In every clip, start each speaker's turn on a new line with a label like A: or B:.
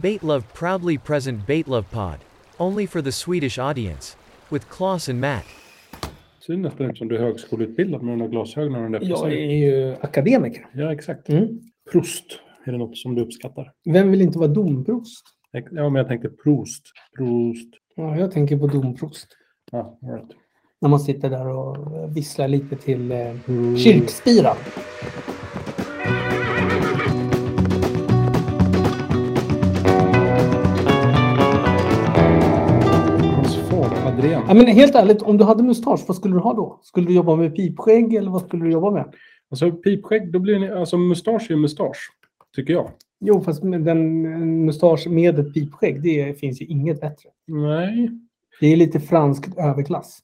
A: Baitlove proudly present Baitlove Pod. Only for the Swedish audience. With Klaus and Matt.
B: Synd att du inte som du är högskoleutbildad med de där glasögonen och den där
C: Jag
B: frisyren.
C: är ju akademiker.
B: Ja, exakt.
C: Mm.
B: Proust. Är det något som du uppskattar?
C: Vem vill inte vara domprost?
B: Ex- Ja, men jag tänkte Proust. Proust.
C: Ja, jag tänker på domprost.
B: Ja, all right.
C: När man sitter där och visslar lite till eh, kyrkspiran.
B: Hans far, Adrian.
C: Ja, men helt ärligt, om du hade mustasch, vad skulle du ha då? Skulle du jobba med pipskägg eller vad skulle du jobba med?
B: Alltså pipskägg, då blir ni... Alltså mustasch är ju mustasch. Tycker jag.
C: Jo, fast med den, en mustasch med ett pipskägg, det finns ju inget bättre.
B: Nej.
C: Det är lite franskt överklass.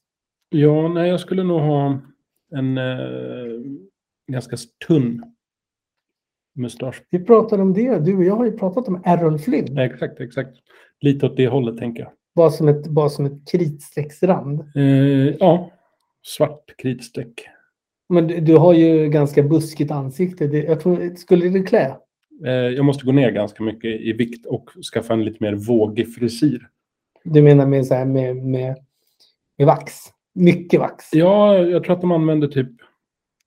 B: Ja, nej, jag skulle nog ha en eh, ganska tunn mustasch.
C: Vi pratade om det, du och jag har ju pratat om Errol Flynn.
B: Ja, exakt, exakt. Lite åt det hållet, tänker jag.
C: Bara som ett, bara som ett kritstrecksrand.
B: Eh, ja, svart kritstreck.
C: Men du, du har ju ganska buskigt ansikte. Det, jag tror, skulle det klä?
B: Eh, jag måste gå ner ganska mycket i vikt och skaffa en lite mer vågig frisyr.
C: Du menar med, så här, med, med, med vax? Mycket vax?
B: Ja, jag tror att de använder typ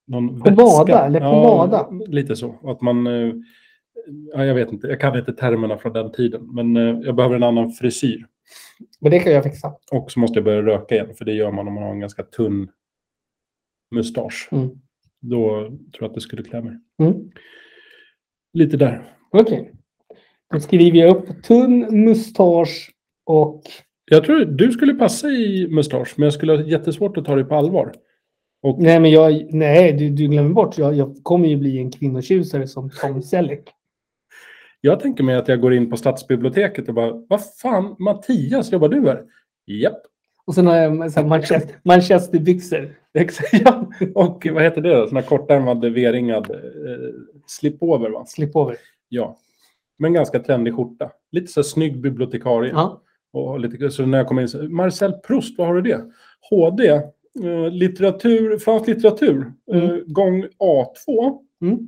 B: någon
C: Pomada,
B: vätska.
C: eller
B: Ja,
C: pomada.
B: lite så. Att man, eh, ja, jag vet inte, jag kan inte termerna från den tiden. Men eh, jag behöver en annan frisyr.
C: Men det kan jag fixa.
B: Och så måste jag börja röka igen, för det gör man om man har en ganska tunn mustasch.
C: Mm.
B: Då tror jag att det skulle klä mig.
C: Mm.
B: Lite där.
C: Okej. Då skriver jag upp tunn mustasch och...
B: Jag tror du skulle passa i mustasch, men jag skulle ha jättesvårt att ta dig på allvar.
C: Nej, men jag, nej du, du glömmer bort. Jag, jag kommer ju bli en kvinnotjusare som Tom Selleck.
B: Jag tänker mig att jag går in på stadsbiblioteket och bara, vad fan, Mattias, jobbar du här? Japp.
C: Och sen har jag så här Manchester, Manchesterbyxor.
B: Exakt, ja. Och vad heter det då? Sån här kortärmad, V-ringad eh, slipover, va?
C: Slipover.
B: Ja. Men ganska trendig skjorta. Lite så här snygg bibliotekarie.
C: Ja.
B: Och lite, så när jag kommer in så, Marcel Proust, vad har du det? HD, eh, litteratur, fransk litteratur, eh, gång A2,
C: Mm.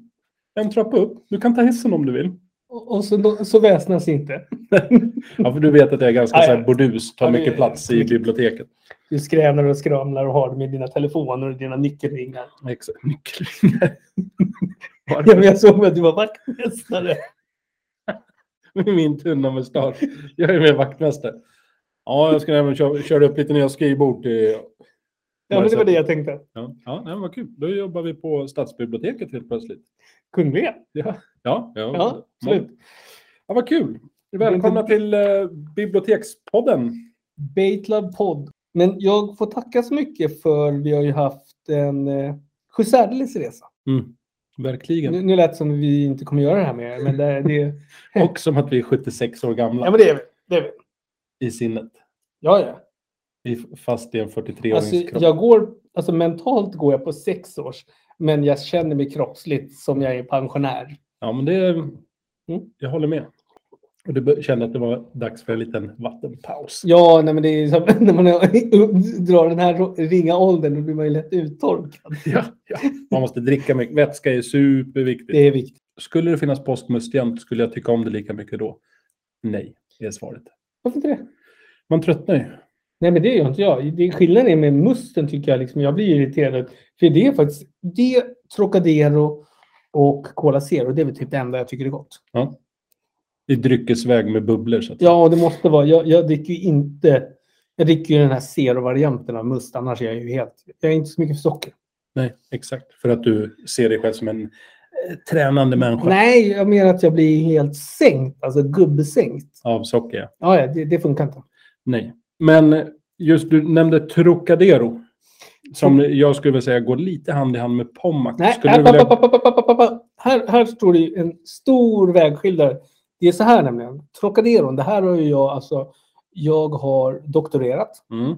B: en trappa upp. Du kan ta hissen om du vill.
C: Och, och så, så väsnas inte.
B: Ja, för du vet att jag är ganska
C: Ja,
B: så här
C: ja.
B: bordus, tar
C: Ja, det-
B: mycket plats i biblioteket.
C: Du skränar och skramlar och har dem i dina telefoner och dina nyckelringar.
B: Exakt. Nyckelringar.
C: Ja, men jag såg att du var vaktmästare.
B: Med min tunna mustasch. Jag är med vaktmästare. Ja, jag ska även köra, köra upp lite nya skrivbord till...
C: Ja, men det var det jag tänkte.
B: Ja, ja nej, vad kul. Då jobbar vi på Stadsbiblioteket helt plötsligt.
C: Kungliga.
B: Ja, ja. ja,
C: Ja, absolut.
B: Ja, vad kul. Välkomna till eh, Bibliotekspodden.
C: Baitlab podd. Men jag får tacka så mycket för vi har ju haft en eh, sjusärdeles resa. Nu,
B: Mm. Verkligen.
C: nu lät det som vi inte kommer göra det här med er, men det, det,
B: Och som att vi är 76 år gamla
C: Mm. ja, men det är vi. Det är vi.
B: i sinnet.
C: Ja, ja.
B: Vi är fast i en 43-årings
C: Alltså,
B: kropp.
C: jag går, alltså, mentalt går jag på sex års, men jag känner mig kroppsligt som jag är pensionär.
B: Ja, men det... mm, Jag håller med. Och du bör- kände att det var dags för en liten vattenpaus.
C: Ja, nej, men det är ju som, när man är- drar den här ro- ringa åldern då blir man ju lätt uttorkad.
B: Ja, ja. Man måste dricka mycket. Vätska är superviktigt.
C: Det är viktigt.
B: Skulle det finnas postmust jämt, skulle jag tycka om det lika mycket då? Nej, är svaret.
C: Varför inte det?
B: Man tröttnar ju.
C: Nej, men det gör inte jag. Det, skillnaden är med musten tycker jag. Liksom, jag blir irriterad. För det är faktiskt det, Trocadero och Cola Zero. Det är väl typ det enda jag tycker är gott.
B: I dryckesväg med bubblor. Så att
C: Ja, och det måste vara. Jag, jag dricker ju inte... Jag dricker ju den här Zero-varianten av must. Annars är jag ju helt... Jag är inte så mycket för socker.
B: Nej, exakt. För att du ser dig själv som en eh, tränande människa
C: Nej, jag menar att jag blir helt sänkt. Alltså gubbsänkt.
B: av socker. ja.
C: Ja, ja, det, det funkar inte.
B: Nej. Men eh, just du nämnde Trocadero. Som jag skulle vilja säga går lite hand i hand med Pommac.
C: Mm. Nej,
B: Skulle du
C: här,
B: vilja...
C: pappa, pappa, pappa, pappa. Här, här står det ju en stor vägskyltare. Det är så här nämligen. Trocaderon, det här har ju jag alltså. Jag har doktorerat.
B: Mm,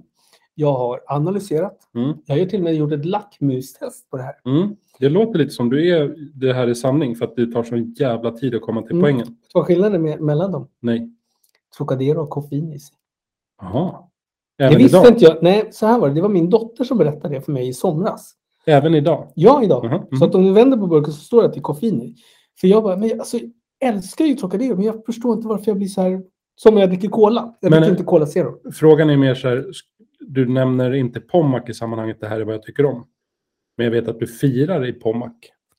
C: Jag har analyserat.
B: mm,
C: Jag har ju till och med gjort ett lackmustest på det här.
B: mm. Det låter lite som du är, det här är sanning för att det tar sån jävla tid att komma till
C: Mm.
B: poängen.
C: Vad är skillnaden med, mellan dem?
B: Nej.
C: Trocadero och koffein i sig.
B: Jaha.
C: Det
B: Även
C: visste
B: idag?
C: inte jag. Nej, så här var det. Det var min dotter som berättade det för mig i somras.
B: Även idag?
C: Ja, idag.
B: Mhm, mhm.
C: Så att om du vänder på burken så står det att det är koffein i. För jag bara, men jag- alltså, älskar ju Trocadero, men jag förstår inte varför jag blir så här som när jag dricker cola. Jag
B: Men-
C: dricker inte Cola Zero.
B: Frågan är mer så här, sk- du nämner inte Pommac i sammanhanget, det här är vad jag tycker om. Men jag vet att du firar i Pommac.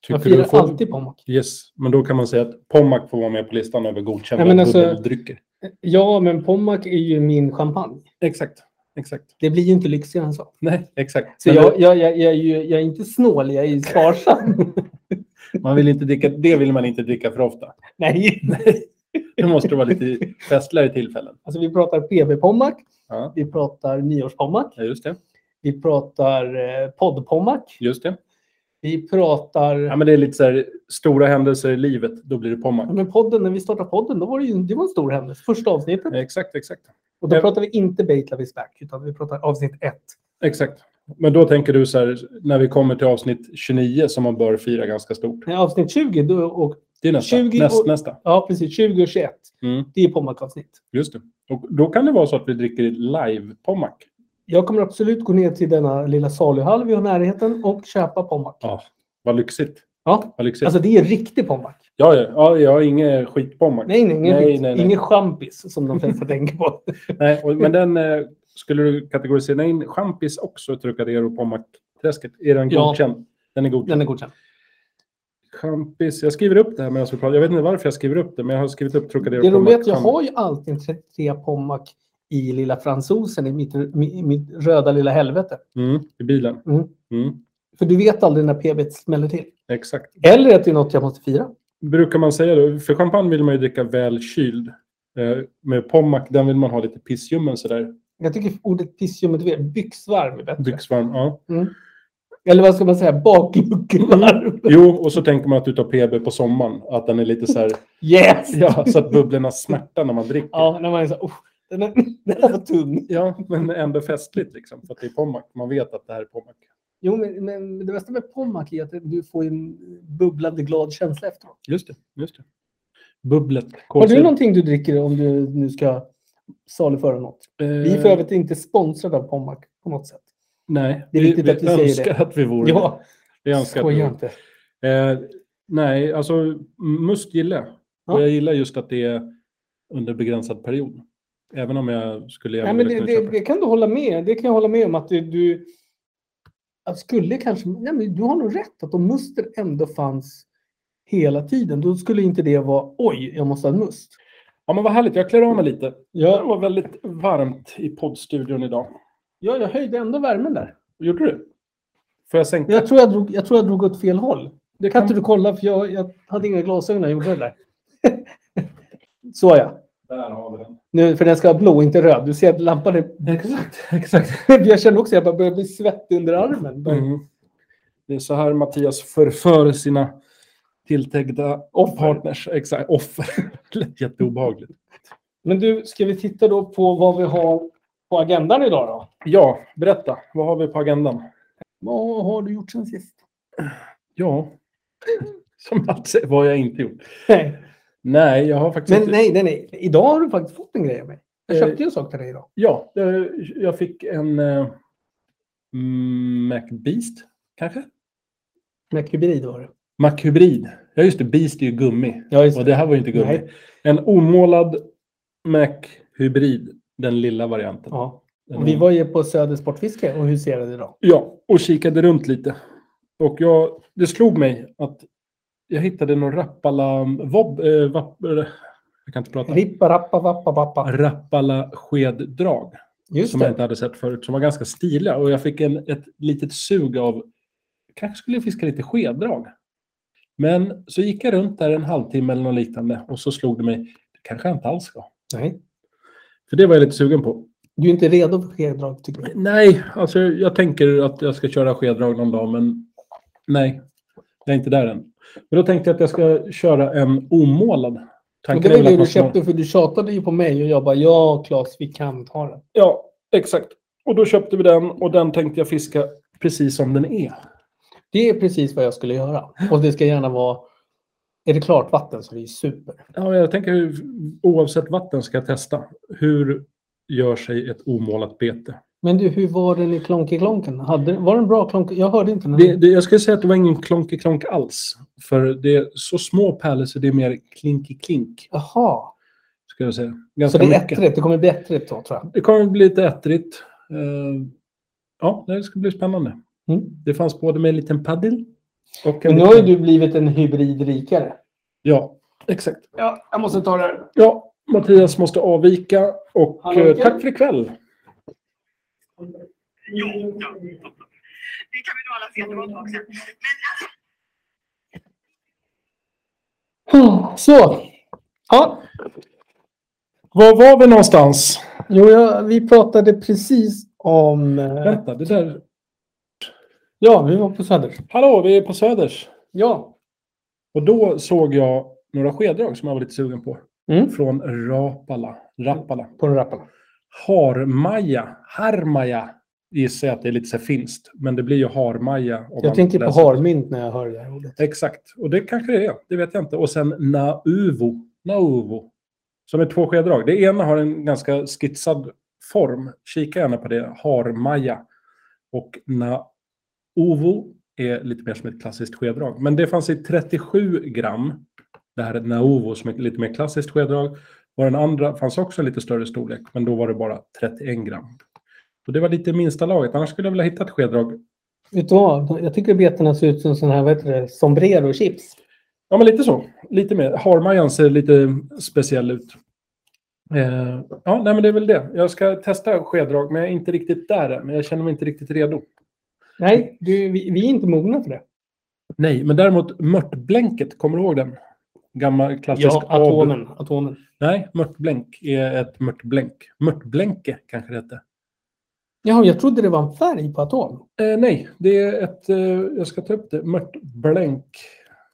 C: Jag
B: Tycker
C: firar
B: du får...
C: alltid Pommac.
B: Yes, men då kan man säga att Pommac får vara med på listan över godkända
C: Nej, men alltså-
B: bubbeltrycker.
C: Ja, men Pommac är ju min champagne.
B: Exakt, exakt.
C: Det blir ju inte lyxigare än så.
B: Nej, exakt.
C: Så
B: Men
C: jag, jag, jag, jag, är ju, jag är inte snål, jag är ju sparsam.
B: Man vill inte dricka, det vill man inte dricka för ofta.
C: Nej.
B: Det måste vara lite festligare tillfällen.
C: Alltså vi pratar PB-Pommac,
B: Ja,
C: vi pratar nyårspommac,
B: ja, just det.
C: vi pratar eh, poddpommac,
B: Just det.
C: vi pratar...
B: Ja, men det är lite så här, stora händelser i livet, då blir det Pommac.
C: Ja, Men podden, när vi startade podden, då var det ju det var en stor händelse. Första avsnittet.
B: Exakt, exakt.
C: Och då
B: Ja.
C: pratar vi inte Bait Love is back, utan vi pratar avsnitt ett.
B: Exakt. Men då tänker du så här, när vi kommer till avsnitt 29 som man bör fira ganska stort.
C: Nej, avsnitt 20, då, och,
B: Det är nästa.
C: 20
B: Näst,
C: och-
B: nästa.
C: ja precis, 20 och 21.
B: Mm,
C: Det är Pommac-avsnitt.
B: just det. Och då kan det vara så att vi dricker live Pommac.
C: Jag kommer absolut gå ner till denna lilla saluhall vi har i närheten och köpa Pommac.
B: Ja, vad lyxigt.
C: Ja.
B: Vad lyxigt.
C: Alltså det är riktig Pommac.
B: ja, ja, ja, jag har ingen skit Pommac.
C: Nej, nej, ingen,
B: Nej,
C: nej,
B: nej, nej.
C: ingen champis som de flesta tänker på.
B: Nej, och, men den eh, skulle du kategorisera in champis också, Trocadero Pommac-träsket. Är den
C: Ja.
B: godkänd? Den är godkänd.
C: Den är godkänd.
B: Champis, jag skriver upp det här medan vi pratar. Jag vet inte varför jag skriver upp det, men jag har skrivit upp Trocadero
C: Det roliga är att jag
B: champis.
C: har ju alltid en 33 Pommac i lilla fransosen i mitt, mi- mitt röda lilla helvete.
B: Mm, I bilen.
C: Mm.
B: Mm,
C: För du vet aldrig när PB smäller till.
B: exakt.
C: Eller att det är något jag måste fira.
B: brukar man säga då? För champagne vill man ju dricka väl kyld. Eh, med Pommac, den vill man ha lite pissljummen sådär.
C: Jag tycker ordet pissljummet byxvarv är bättre.
B: Byxvarm, ja.
C: Eller vad ska man säga? Bakluckevarv.
B: Jo, och så tänker man att du tar PB på sommaren. Att den är lite så här,
C: Yes!
B: ja, så att bubblorna snärtar när man dricker.
C: Ja, när man är så här, "Oh, den, är, den här var tung.
B: Ja, men ändå festligt liksom. För att det är Pommac. Man vet att det här är Pommac.
C: Jo, men, men det bästa med Pommac är att du får en bubblande glad känsla efteråt.
B: Just det, just det. Bubblet.
C: Har du någonting du dricker om du nu ska saluföra något?
B: Eh,
C: Vi är för övrigt inte sponsrade av Pommac på något sätt.
B: Nej,
C: Det är viktigt
B: vi,
C: att
B: vi
C: du säger
B: önskar att vi vore
C: Ja,
B: det. Vi önskar att vi
C: skoja
B: vore
C: inte.
B: det. eh, Nej, alltså must gillar jag.
C: Ja.
B: Och jag gillar just att det är under begränsad period. Även om jag skulle gärna
C: Nej, men
B: vilja
C: det,
B: kunna
C: det,
B: köpa
C: det kan du hålla med. Det kan jag hålla med om att du, du att skulle kanske. Nej, men du har nog rätt att om muster ändå fanns hela tiden, då skulle inte det vara oj, jag måste ha en must.
B: Ja, men vad härligt. Jag klär av mig lite. Det
C: Ja,
B: var väldigt varmt i poddstudion idag.
C: ja jag höjde ändå värmen där.
B: Gjorde du? Får jag sänka?
C: Jag tror jag drog, jag tror jag drog åt fel håll. Det kan
B: kan-
C: inte du kolla för jag, jag hade inga glasögon när jag gjorde det där. Så ja.
B: Där har vi den.
C: Nu, för den ska vara blå, inte röd. Du ser att lampan är...
B: Exakt, exakt.
C: Jag känner också att jag bara börjar bli svettig under armen.
B: Mm. Det är så här Mattias förför sina tilltänkta partners. Exakt, offer. Det lät jätteobehagligt.
C: Men du, ska vi titta då på vad vi har på agendan idag då?
B: Ja, berätta. Vad har vi på agendan?
C: Vad har du gjort sen sist?
B: Ja, som att säga, vad har jag inte gjort?
C: Nej.
B: Nej, jag har faktiskt
C: Men
B: inte...
C: nej, nej, nej. Idag har du faktiskt fått en grej av mig. Jag
B: Eh.
C: köpte ju en sak till dig idag.
B: Ja, eh, jag fick en eh, MacBeast, kanske?
C: Mäckhybrid var det.
B: MacHybrid. Ja, just det. Beast är ju gummi.
C: Ja, just
B: Och det här var ju inte gummi.
C: Nej.
B: En omålad Mac-hybrid. Den lilla varianten.
C: Ja.
B: Den
C: Och vi var ju på Söder Sportfiske och huserade idag.
B: Ja, och kikade runt lite. Och jag, det slog mig att jag hittade någon Rappala... Vob, eh, vapp, eh, jag kan inte prata.
C: Rippa, rappa, vappa, vappa.
B: Rappala skeddrag.
C: Just
B: Som jag
C: det.
B: inte hade sett förut. Som var ganska stiliga. Och jag fick en, ett litet sug av... Kanske skulle jag fiska lite skeddrag. Men så gick jag runt där en halvtimme eller något liknande. Och så slog det mig. Det kanske jag inte alls ska.
C: Nej.
B: För det var jag lite sugen på.
C: Du är inte redo för skeddrag tycker jag.
B: Nej, alltså jag tänker att jag ska köra skeddrag någon dag, men nej. Jag är inte där än. Men då tänkte jag att jag ska köra en omålad.
C: Men
B: Tanken
C: det
B: är
C: var
B: väl att
C: ju det
B: man
C: du
B: ska-
C: köpte för du tjatade ju på mig och jag bara ja Claes, vi kan ta den.
B: Ja, exakt. Och då köpte vi den och den tänkte jag fiska precis som den är.
C: Det är precis vad jag skulle göra. Och det ska gärna vara... Är det klart vatten så det är super.
B: Ja, jag tänker hur- oavsett vatten ska jag testa. Hur gör sig ett omålat bete?
C: Men du, hur var den i Klonky Klonken? Hade, var den bra Klonky? Jag hörde inte den.
B: Det, det, jag skulle säga att det var ingen klonky-klonk alls. För det är så små pärlor så det är mer klinky-klink.
C: Jaha.
B: Skulle jag säga.
C: Så
B: Ganska
C: det är
B: mycket.
C: ettrigt. Det kommer bli ettrigt då, tror jag.
B: Det kommer bli lite ettrigt. Eh, ja, det ska bli spännande.
C: Mm.
B: Det fanns både med en liten paddel och en
C: Men nu
B: liten...
C: har ju du blivit en hybridrikare.
B: Ja, exakt.
C: Ja, jag måste ta det här.
B: Ja, Mattias måste avvika och
C: Hallå,
B: eh,
C: Mikael.
B: tack för ikväll.
D: Jo, ja. Det kan vi nog alla se att det var ett tag sedan. Men alltså,
C: Så. Ja,
B: Var var vi någonstans?
C: jo, jag, vi pratade precis om... eh,
B: Vänta, det där...
C: Ja, vi var på Söder.
B: Hallå, vi är på Söders.
C: Ja.
B: Och då såg jag några skeddrag som jag var lite sugen på.
C: Mm.
B: Från Rapala. Rapala.
C: På den rapparna.
B: Harmaja. Harmaja gissar jag att det är lite så här finskt. Men det blir ju harmaja. om
C: Jag
B: man
C: tänker på
B: läser.
C: harmynt när jag hör det här ordet.
B: Exakt. Och det kanske det är. Det vet jag inte. Och sen Nauvo. Nauvo. Som är två skeddrag. Det ena har en ganska skissad form. Kika gärna på det. Harmaja. Och Nauvo är lite mer som ett klassiskt skeddrag. Men det fanns i 37 gram. Det här är Nauvo som är ett lite mer klassiskt skeddrag. Och den andra fanns också i lite större storlek. Men då var det bara 31 gram. Och det var lite minsta laget. Annars skulle jag vilja hitta ett skeddrag
C: Vet du vad? Jag tycker betorna ser ut som sån här, vad heter det, sombrero-chips.
B: Ja, men lite så. Lite mer. Harmajan ser lite speciell ut. Eh, ja, nej, men det är väl det. Jag ska testa skeddrag, men jag är inte riktigt där än. Men jag känner mig inte riktigt redo.
C: Nej, du, vi, vi är inte mogna för det.
B: Nej, men däremot mörtblänket, kommer du ihåg den? Gammal klassisk ab-
C: atomen. atomen.
B: Nej, mörtblänk är ett mörtblänk. Mörtblänke kanske det hette.
C: Jaha, jag trodde det var en färg på atom.
B: Eh, nej, det är ett... Eh, jag ska ta upp det. Mörtblänk.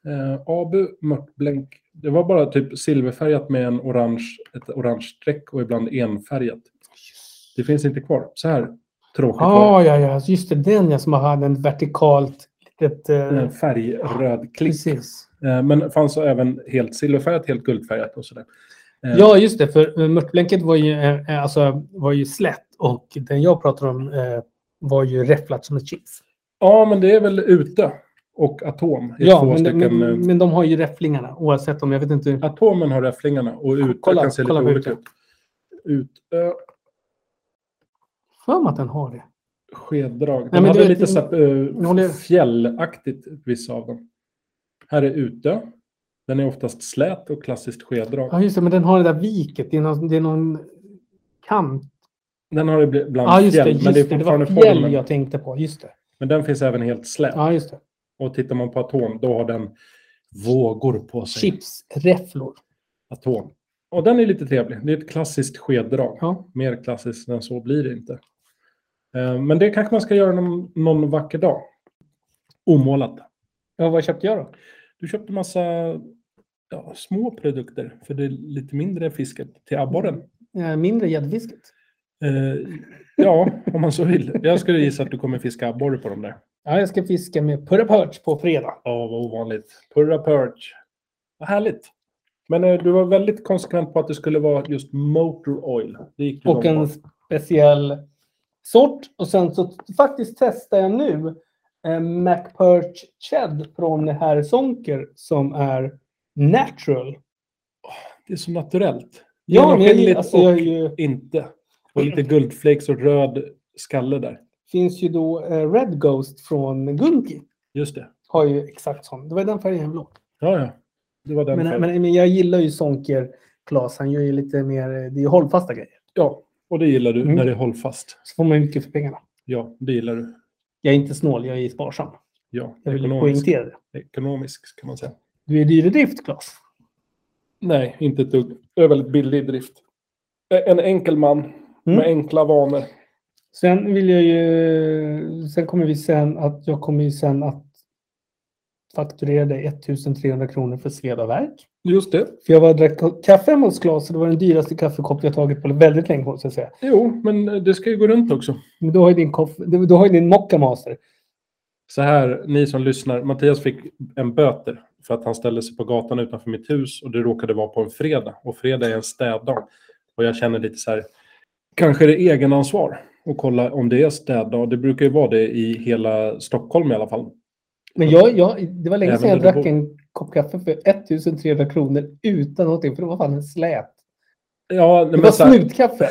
B: Eh, Abu mörtblänk. Det var bara typ silverfärgat med en orange, ett orange streck och ibland enfärgat. Det finns inte kvar. Så här tråkigt var
C: Ah, ja, ja, just det. Den ja, som hade en vertikalt litet... eh,
B: det. En färgröd Mm. klick.
C: precis.
B: Eh, men fanns så även helt silverfärgat, helt guldfärgat och sådär. Eh,
C: Ja, just det. För eh, mörtblänket var ju, eh, eh, alltså, var ju slätt och den jag pratar om eh, var ju räfflat som ett chips.
B: ja, men det är väl ute och atom. är
C: Ja,
B: två
C: men,
B: stycken, eh,
C: men, men de har ju räfflingarna oavsett om. Jag vet inte. hur-
B: Atomen har räfflingarna och ute
C: Kolla-
B: kan se lite
C: kolla på
B: olika ut.
C: ute.
B: Utö
C: För mig att den har det.
B: skeddrag. De
C: men du
B: hade
C: vet,
B: lite så
C: nu håller
B: här, eh,
C: jag-
B: fjällaktigt, vissa av dem. Här är Utö. Den är oftast slät och klassiskt skeddrag.
C: Ja, just det. Men den har det där viket. Det är någon, det är någon kant.
B: Den har ibland
C: Ja, just det.
B: fjäll,
C: Just
B: men det är
C: det. det var
B: fortfarande
C: fjäll
B: formen.
C: jag tänkte på. Just det.
B: Men den finns även helt slät.
C: Ja, just det.
B: Och tittar man på atom, då har den vågor på sig.
C: Chips, räfflor.
B: Atom. Och den är lite trevlig. Det är ett klassiskt skeddrag.
C: Ja.
B: Mer klassiskt än så blir det inte. Eh, Men det kanske man ska göra någon, någon vacker dag. Omålat.
C: ja, vad köpte jag då?
B: Du köpte massa ja, små produkter för det lite mindre fisket till abborren.
C: Eh, Mindre gäddfisket.
B: Eh, ja, om man så vill. Jag skulle gissa att du kommer fiska abborre på dem där.
C: Ja, jag ska fiska med Purra Perch på fredag.
B: Ja, vad ovanligt. Purra perch. Vad härligt. Men eh, du var väldigt konsekvent på att det skulle vara just motor oil. Det gick du
C: Och
B: långt
C: en
B: på.
C: speciell sort. Och sen så t- faktiskt testar jag nu eh, MacPerch Ched från herr Sonker som är natural.
B: Det är så naturellt.
C: Ja, men jag,
B: Genomskinligt
C: alltså, jag är
B: och
C: ju,
B: inte. Och lite guldflakes och röd skalle där.
C: finns ju då eh, Red Ghost från Gunki.
B: Just det.
C: Har ju exakt sån. Det var den färgen jag ville åt.
B: Ja, ja. Det var den.
C: Men,
B: färgen.
C: men, men jag gillar ju Sonker Claes. Han gör ju lite mer, eh, det är ju hållfasta grejer.
B: Ja, och det gillar du
C: Mm.
B: när det är hållfast.
C: Så får man ju mycket för pengarna.
B: Ja, det gillar du.
C: Jag är inte snål, jag är sparsam.
B: Ja,
C: Jag vill
B: ekonomisk,
C: poängtera det.
B: ekonomisk kan man säga.
C: Du är dyr i drift, Claes.
B: Nej, inte ett dugg. Det är väldigt billig drift. Ä- En enkel man med
C: Mm.
B: enkla vanor.
C: Sen vill jag ju... Sen kommer vi sen att... Jag kommer ju sen att fakturera dig 1300 kronor för Sveda Verk.
B: Just det.
C: För jag var och drack ka- kaffe hemma hos Claes och det var den dyraste kaffekopp jag tagit på väldigt länge, måste jag säga.
B: Jo, men eh, det ska ju gå runt också.
C: Men då har ju din, koff, då har ju din Mocca Master.
B: Så här, ni som lyssnar. Mattias fick en böter för att han ställde sig på gatan utanför mitt hus och det råkade vara på en fredag. Och fredag är en städdag. Och jag känner lite så här, kanske är det egenansvar och kolla om det är städdag. Det brukar ju vara det i hela Stockholm i alla fall.
C: Men jag, jag, det var länge
B: Även
C: sedan jag
B: där du
C: drack
B: bor.
C: en kopp kaffe för 1300 kronor utan någonting, för det var fan en slät.
B: Ja, nej,
C: Det
B: men,
C: var
B: så här,
C: snutkaffe.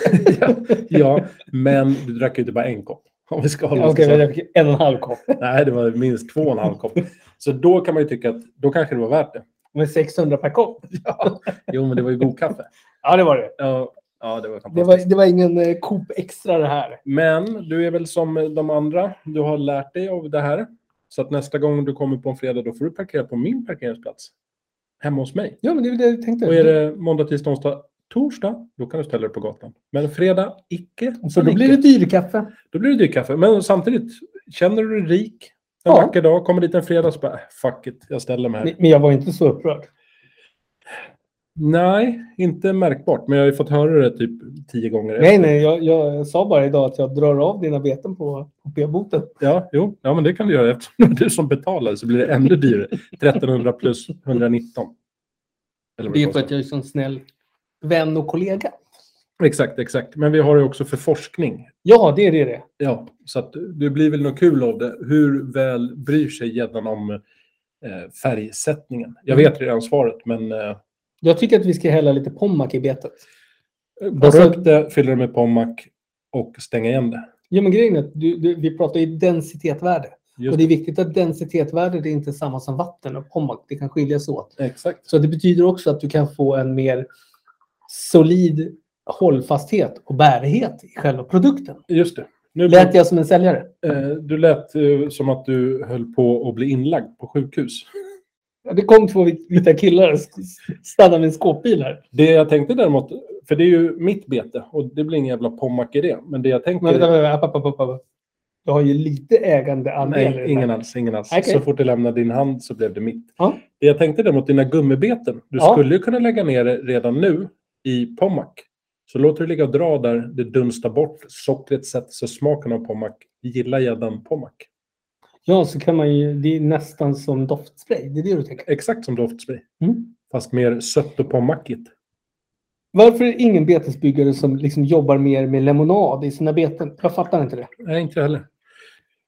B: ja, men du drack ju inte bara en kopp. Om vi ska hålla oss
C: Okej,
B: till
C: men
B: så.
C: jag fick en och en halv kopp.
B: Nej, det var minst två och en halv kopp. Så då kan man ju tycka att då kanske det var värt det.
C: Med 600 per kopp.
B: Ja. Jo, men det var ju god kaffe.
C: Ja, det var det.
B: Ja, ja det var fantastiskt.
C: Det var, det var ingen eh, Coop Extra det här.
B: Men du är väl som de andra. Du har lärt dig av det här. Så att nästa gång du kommer på en fredag, då får du parkera på min parkeringsplats. Hemma hos mig.
C: Ja, men det är det jag tänkte.
B: Och är det måndag, tisdag, onsdag, torsdag, då kan du ställa dig på gatan. Men fredag, icke.
C: Så då
B: Icke.
C: blir det dyrkaffe.
B: Då blir det dyrt kaffe. Men samtidigt, känner du dig rik en
C: Ja.
B: vacker dag, kommer dit en fredag, så bara, "Äh, fuck it, jag ställer mig här.
C: Men men jag var inte så upprörd.
B: Nej, inte märkbart. Men jag har ju fått höra det typ tio gånger.
C: Nej, nej, jag, jag sa bara idag att jag drar av dina beten på, på p-boten.
B: Ja, jo, ja, men det kan du göra. Eftersom det är du som betalar så blir det ännu dyrare. 1300 plus 119. Eller vad
C: Det är för att
B: kostar.
C: jag är en snäll vän och kollega.
B: Exakt, exakt. Men vi har det också för forskning.
C: Ja, det är det. det.
B: Ja, så att det blir väl något kul av det. Hur väl bryr sig gäddan om eh, färgsättningen? Jag
C: Mm.
B: vet redan svaret, men eh,
C: Jag tycker att vi ska hälla lite pommack i betet.
B: borra
C: Alltså-
B: upp det, fylla det med pommac och stänga igen det.
C: Ja, men grejen är att du, du, vi pratar ju densitettvärde.
B: Just
C: Och det är viktigt att densitettvärde det är inte samma som vatten och pommack. Det kan skiljas åt.
B: Exakt.
C: Så det betyder också att du kan få en mer solid hållfasthet och bärighet i själva produkten.
B: Just det. Nu
C: Lät jag som en säljare?
B: eh, du lät eh, som att du höll på att bli inlagd på sjukhus.
C: Ja, Det kom två vit- vita killar och stannade med en skåpbil här.
B: Det jag tänkte däremot, för det är ju mitt bete och det blir ingen jävla pommack i det. Men det jag tänker...
C: Men vänta, vänta, app, app, app, app. Jag har ju lite ägandeandel. i det här.
B: nej, ingen alls. Ingen alls.
C: Okej.
B: Så fort det lämnade din hand så blev det mitt.
C: Ja.
B: Det jag tänkte däremot, dina gummibeten. Du
C: Ja.
B: skulle ju kunna lägga ner det redan nu i pommack. Så låter det ligga och dra där, det dunstar bort, sockret sätter sig, smaken av pommack. Gillar gäddan pommack?
C: Ja, så kan man ju, det är nästan som doftspray. Det är det du tänker.
B: Exakt som doftspray.
C: Mm.
B: Fast mer sött och pommackigt.
C: Varför är det ingen betesbyggare som liksom jobbar mer med lemonad i sina beten? Jag fattar inte det.
B: Nej, inte jag heller.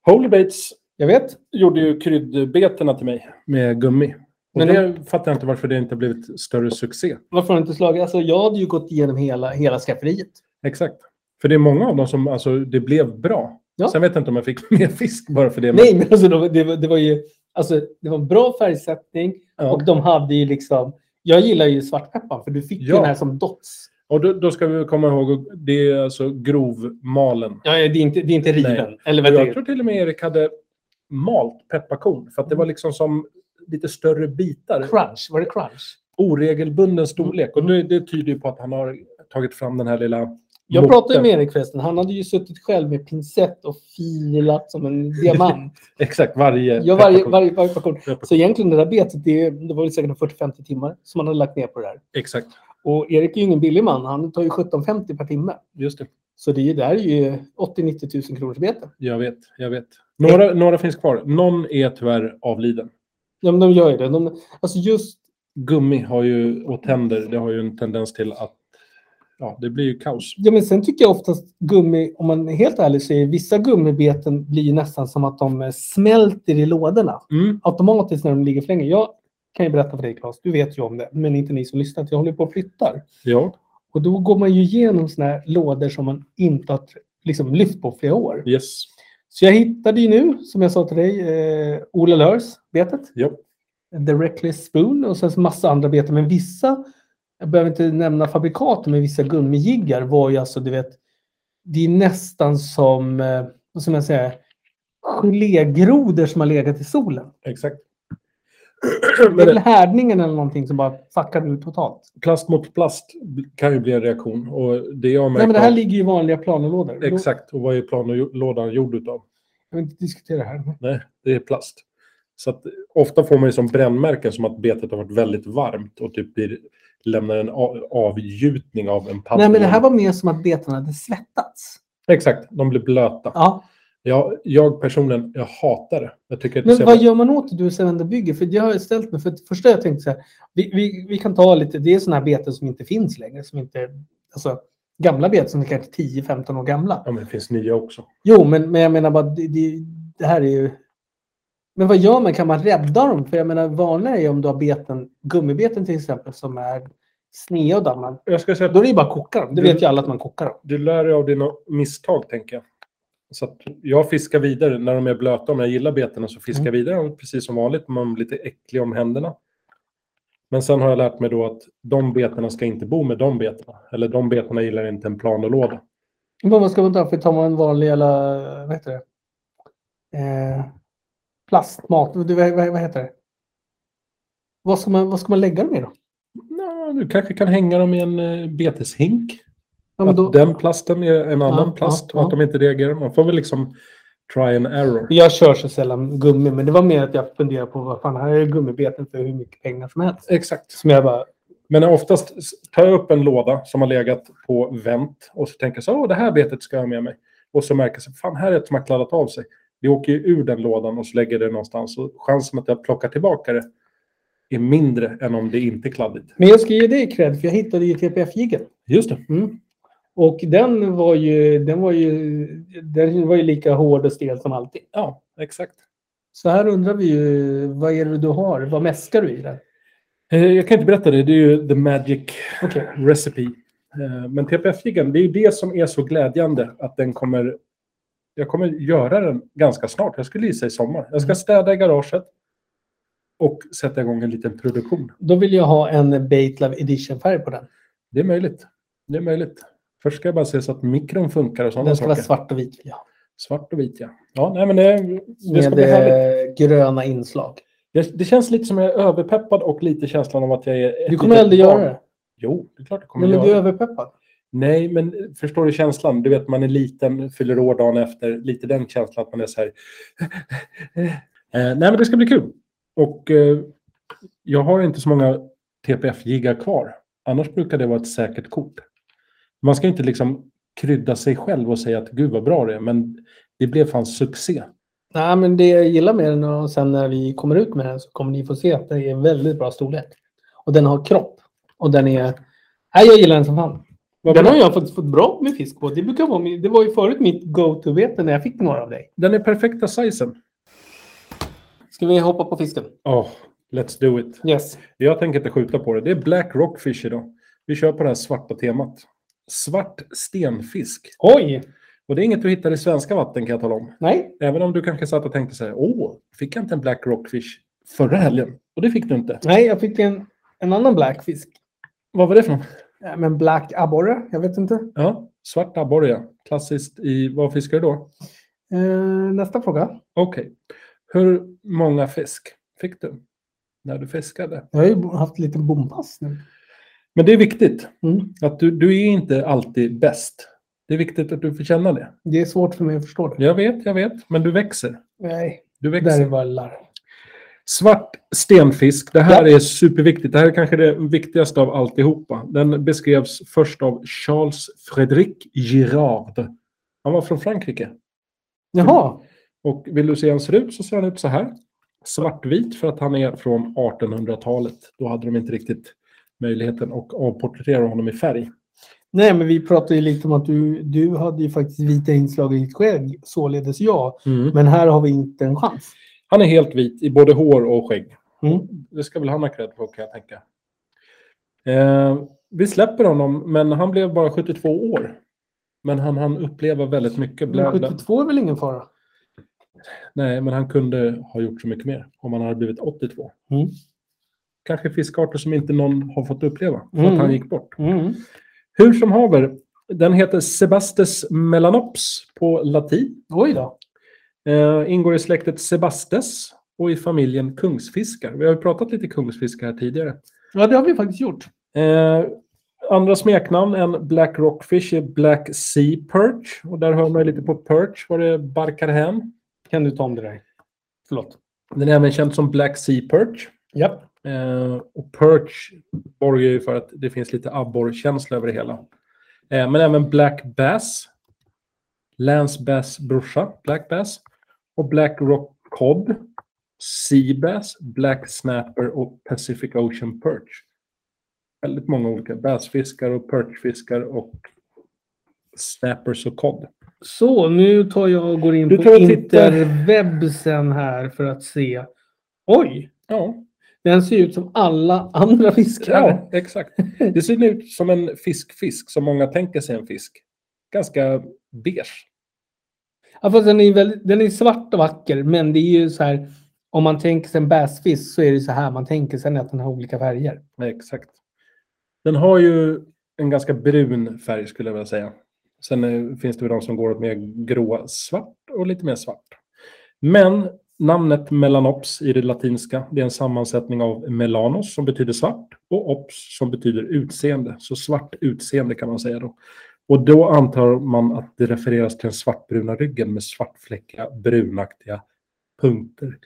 B: Holy Bates
C: Jag vet.
B: gjorde ju kryddbetena till mig med gummi. Och
C: Men
B: det fattar jag inte varför det inte har blivit större succé.
C: Varför har du inte slagit? Alltså, jag hade ju gått igenom hela, hela skafferiet.
B: Exakt. För det är många av dem som, alltså det blev bra.
C: Ja.
B: Sen vet jag inte om jag fick mer fisk bara för det. men-
C: Nej, men alltså, det, var- det, var- det var ju alltså, det var en bra färgsättning
B: ja.
C: och de hade ju liksom... Jag gillar ju svartpeppar för du fick ju
B: Ja.
C: den här som dots.
B: och då, då ska vi komma ihåg, att det är alltså grovmalen.
C: Ja, ja, det, är inte, det är inte riven.
B: Nej.
C: Eller
B: Och
C: vad det
B: jag
C: är.
B: tror till och med Erik hade malt pepparkorn. För att det var liksom som lite större bitar.
C: Crunch. Var det crunch? Mm.
B: Oregelbunden storlek. Och det, det tyder ju på att han har tagit fram den här lilla...
C: Jag
B: motten.
C: pratade ju med Erik förresten. Han hade ju suttit själv med pincett och filat som en diamant.
B: Exakt, varje
C: Jag varje,
B: pepparkorn.
C: varje, varje passion.
B: Pepparkorn.
C: Så egentligen det där betet, det, det var väl säkert 40-50 timmar som han hade lagt ner på det där.
B: Exakt,
C: Och Erik är ju ingen billig man. Han tar ju 17,50 per timme.
B: just det.
C: Så det är ju, det här är ju 80-90 000 kronors bete.
B: Jag vet, jag vet. Några, några finns kvar. Någon är tyvärr avliden.
C: Ja, men de gör ju det. De, alltså just,
B: Gummi har ju, och tänder, det har ju en tendens till att ja, det blir ju kaos.
C: ja, men sen tycker jag oftast gummi, om man är helt ärlig, så är vissa gummibeten blir ju nästan som att de eh, smälter i lådorna.
B: Mm.
C: Automatiskt när de ligger för länge. Jag kan ju berätta för dig Claes, du vet ju om det, men inte ni som lyssnar, att jag håller på och flyttar.
B: Ja,
C: Och då går man ju igenom såna här lådor som man inte har tr- liksom, lyft på flera år.
B: yes.
C: Så jag hittade ju nu, som jag sa till dig, eh, Ola Lörs betet.
B: Ja.
C: The Reckless Spoon och sen så massa andra beten. Men vissa, jag behöver inte nämna fabrikat, men vissa gummijiggar var ju alltså, du vet, det är nästan som, eh, vad ska man säga, gelégrodor som har legat i solen.
B: Exakt.
C: Det är
B: Men
C: väl
B: det, Oh
C: härdningen eller någonting som bara fuckar ut totalt.
B: plast mot plast kan ju bli en reaktion. Och det jag
C: Nej,
B: märker,
C: men det här ligger ju i vanliga planlådor. Då-
B: Exakt, och vad är planlådan gjord utav?
C: Jag vill inte diskutera det här.
B: Nej, det är plast. Så att, ofta får man ju som brännmärken som att betet har varit väldigt varmt och typ blir, lämnar en a- avgjutning av en padda.
C: Nej, men det här var mer som att beten hade svettats.
B: Exakt, de blir blöta.
C: Ja,
B: Jag, jag personligen, jag hatar det. typ. Jag tycker att det
C: Men
B: ser-
C: vad gör man åt det, du som ändå bygger? För det har jag ställt mig. För det första jag tänkte så här, vi, vi, vi kan ta lite, det är sådana här beten som inte finns längre. Som inte, alltså, gamla bet som är kanske 10-15 år gamla.
B: Ja, men det finns nya också.
C: Jo, men, men jag menar bara, det, det, det här är ju... Men vad gör man? Kan man rädda dem? För jag menar, vanliga är ju om du har beten, gummibeten till exempel, som är sneda och dammar.
B: Jag ska säga att
C: Då är det ju bara att koka dem. Det vet ju alla att man kokar dem.
B: du lär dig av dina misstag, tänker jag. Så att jag fiskar vidare när de är blöta. Om jag gillar betena så
C: Mm.
B: fiskar jag vidare dem precis som vanligt. Man blir lite äcklig om händerna. Men sen har jag lärt mig då att de betena ska inte bo med de betena. Eller de betena gillar inte en planolåda.
C: Men vad ska man ta för? Tar man en vanlig jävla, vad heter det? Eh, plastmat? Du, vad, vad, vad heter det? Vad ska, man, vad ska man lägga dem i då?
B: Nå, du kanske kan hänga dem i en eh, beteshink.
C: Ja, men då
B: Att den plasten är en annan
C: Ja,
B: plast
C: ja,
B: och att
C: ja.
B: de inte reagerar. Man får väl liksom try and error.
C: Jag kör så sällan gummi, men det var mer att jag funderade på vad fan, här är gummibeten för hur mycket pengar som helst.
B: Exakt.
C: Som jag bara,
B: Men oftast s- tar jag upp en låda som har legat på vänt och så tänker jag så här, "Åh, det här betet ska jag ha med mig. Och så märker jag så fan här är ett som har kladdat av sig. Det åker ju ur den lådan och så lägger jag det någonstans. Och chansen att jag plockar tillbaka det är mindre än om det inte är kladdigt.
C: men jag ska ge dig cred för jag hittade ju TPF-jiggen.
B: Just det.
C: Mm. Och den var, ju, den, var ju, den var ju lika hård och stel som alltid.
B: Ja, exakt.
C: Så här undrar vi ju, vad är det du har? Vad mäskar du i den?
B: Eh, Jag kan inte berätta det, det är ju the magic
C: Okej.
B: recipe. Eh, Men TPF-jiggen, det är ju det som är så glädjande att den kommer... Jag kommer göra den ganska snart. Jag skulle gissa i sommar. Jag
C: Mm.
B: ska städa i garaget och sätta igång en liten produktion.
C: Då vill jag ha en Baitlove Edition-färg på den.
B: Det är möjligt. Det är möjligt. Först ska jag bara se så att mikron funkar och sådana
C: Den ska
B: saker.
C: vara svart och vit vill jag ha.
B: Svart och vit, ja. Ja, nej men det, det ska
C: Med
B: bli härligt.
C: eh, gröna inslag.
B: Det, det känns lite som jag är överpeppad och lite känslan av att jag är... ett
C: Du kommer
B: litet
C: aldrig göra
B: barn.
C: det.
B: Jo, det är klart jag kommer
C: Nej, men
B: göra
C: du
B: det.
C: är överpeppad.
B: Nej, men förstår du känslan? Du vet, man är liten, fyller år dagen efter. Lite den känslan att man är så här... eh, nej, men det ska bli kul. Och eh, jag har inte så många TPF-jiggar kvar. Annars brukar det vara ett säkert kort. Man ska inte liksom krydda sig själv och säga att gud vad bra det är, men det blev fan succé.
C: Nej, men det jag gillar med den och sen när vi kommer ut med den så kommer ni få se att det är en väldigt bra storlek. Och den har kropp. Och den är... Nej, jag gillar den som fan.
B: Vad
C: den
B: bra.
C: har jag fått, fått bra med fisk på. Det, brukar vara min, det var ju förut mitt go-to-bete när jag fick några av dig.
B: Den är perfekta sizen.
C: Ska vi hoppa på fisken?
B: Ja, let's do it.
C: Yes.
B: Jag tänker inte skjuta på det. Det är Black Rockfish idag. Vi kör på det här svarta temat. Svart stenfisk.
C: Oj!
B: Och det är inget du hittar i svenska vatten kan jag tala om.
C: Nej.
B: Även om du kanske satt och tänkte så här, åh, fick jag inte en Black Rockfish förra helgen? Och det fick du inte.
C: Nej, jag fick en, en annan blackfisk.
B: Vad var det för någon?
C: Nej, Men black abborre? Jag vet inte.
B: Ja, svart abborre, ja. Klassiskt i, vad fiskar du då?
C: Eh, nästa fråga.
B: Okej. Hur många fisk fick du när du fiskade?
C: Jag har ju haft lite bompass nu.
B: Men det är viktigt,
C: Mm.
B: att du, du är inte alltid bäst. Det är viktigt att du får känna det.
C: Det är svårt för mig att förstå det.
B: Jag vet, jag vet, men du växer.
C: Nej,
B: Du
C: det där
B: växer.
C: är bara larv.
B: Svart stenfisk. Det här
C: Ja.
B: är superviktigt. Det här är kanske det viktigaste av alltihopa. Den beskrevs först av Charles Frédéric Girard. Han var från Frankrike.
C: Jaha.
B: Och vill du se hur han ser ut så ser han ut så här. Svartvit för att han är från 1800-talet. Då hade de inte riktigt möjligheten att avporträttera honom i färg.
C: Nej, men vi pratade ju lite om att du, du hade ju faktiskt vita inslag i ditt skägg, således jag. Men här har vi inte en chans.
B: Han är helt vit i både hår och skägg.
C: Mm.
B: Det ska väl han ha cred för kan jag tänka. Eh, vi släpper honom, men han blev bara 72 år. Men han hann uppleva väldigt mycket.
C: Men
B: Blä, blä.
C: 72 är väl ingen fara?
B: Nej, men han kunde ha gjort så mycket mer om han hade blivit 82.
C: Mm.
B: Kanske fiskarter som inte någon har fått uppleva, för
C: Mm.
B: att han gick bort. Hur som haver, den heter Sebastes melanops på latin.
C: Oj då.
B: Eh, ingår i släktet Sebastes och i familjen kungsfiskar. Vi har ju pratat lite kungsfiskar här tidigare.
C: Ja, det har vi faktiskt gjort.
B: Eh, andra smeknamn än Black Rockfish är Black Sea Perch. Och där hör man ju lite på perch, vad det barkar hem.
C: Kan du ta om det där? Förlåt.
B: Den är även känd som Black Sea Perch.
C: Japp.
B: Eh, och perch borgar ju för att det finns lite abborrkänsla över det hela. Eh, men även Black Bass. Lance Bass brorsa, Black Bass. Och Black Rock Cod. Sea Bass, Black Snapper och Pacific Ocean Perch. Väldigt många olika bassfiskar och perchfiskar och Snappers och COD.
C: Så, nu tar jag och går in
B: Du tar
C: på
B: och tittar.
C: interwebsen här för att se. Oj!
B: Ja,
C: Den ser ut som alla andra fiskar.
B: ja, exakt. Det ser ut som en fiskfisk, som många tänker sig en fisk. Ganska beige.
C: Ja, fast den är, väldigt, den är svart och vacker, men det är ju så här. Om man tänker sig en bäsfisk så är det så här man tänker sig att den har olika färger.
B: Nej, exakt. Den har ju en ganska brun färg skulle jag vilja säga. Sen eh, finns det väl de som går åt mer grå-svart och lite mer svart. Men namnet melanops i det latinska, det är en sammansättning av melanos som betyder svart och ops som betyder utseende. Så svart utseende kan man säga då. Och då antar man att det refereras till den svartbruna ryggen med svartfläckiga brunaktiga punkter.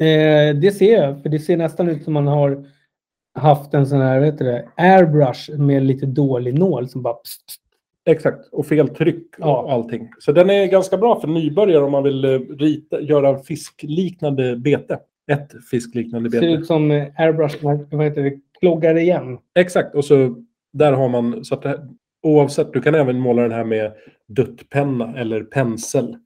C: Eh, det ser jag, för det ser nästan ut som man har haft en sån här, vad heter det, airbrush med lite dålig nål som bara... Pst, pst.
B: Exakt, och fel tryck och
C: Ja.
B: allting. Så den är ganska bra för nybörjare om man vill eh, rita, göra en fiskliknande bete. Ett fiskliknande
C: Ser
B: bete.
C: ut som eh, airbrush, vad vad heter det, kloggar igen.
B: Exakt, och så där har man... Så att det, här- oavsett, du kan även måla den här med duttpenna eller pensel.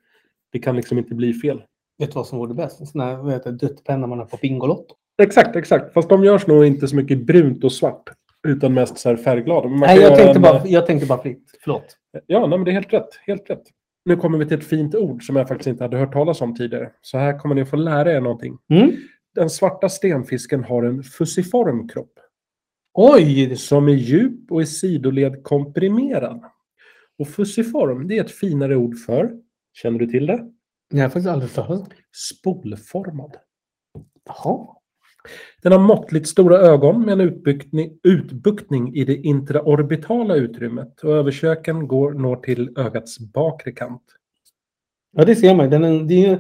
B: Det kan liksom inte bli fel.
C: Vet du vad som vore bäst? En sån här, vad heter det, duttpenna man har på Bingolotto.
B: Exakt, exakt. Fast de görs nog inte så mycket brunt och svart. Utan mest så här färgglada. Men man
C: Nej,
B: kan
C: jag
B: göra
C: tänkte,
B: en, eh,
C: bara, jag tänkte bara fritt. Förlåt.
B: Ja, nej, men det är helt rätt. Helt rätt. Nu kommer vi till ett fint ord som jag faktiskt inte hade hört talas om tidigare. Så här kommer ni att få lära er någonting.
C: Mm.
B: Den svarta stenfisken har en fusiform kropp
C: Oj! det-
B: som är djup och i sidoled komprimerad. Och fusiform, det är ett finare ord för, känner du till det?
C: Jag har faktiskt aldrig hört talas om.
B: Spolformad.
C: Jaha.
B: Den har måttligt stora ögon med en utbuktning, utbuktning i det intraorbitala utrymmet och överköken går, når till ögats bakre kant.
C: Ja, det ser man. ju. Den är, det, är, ju-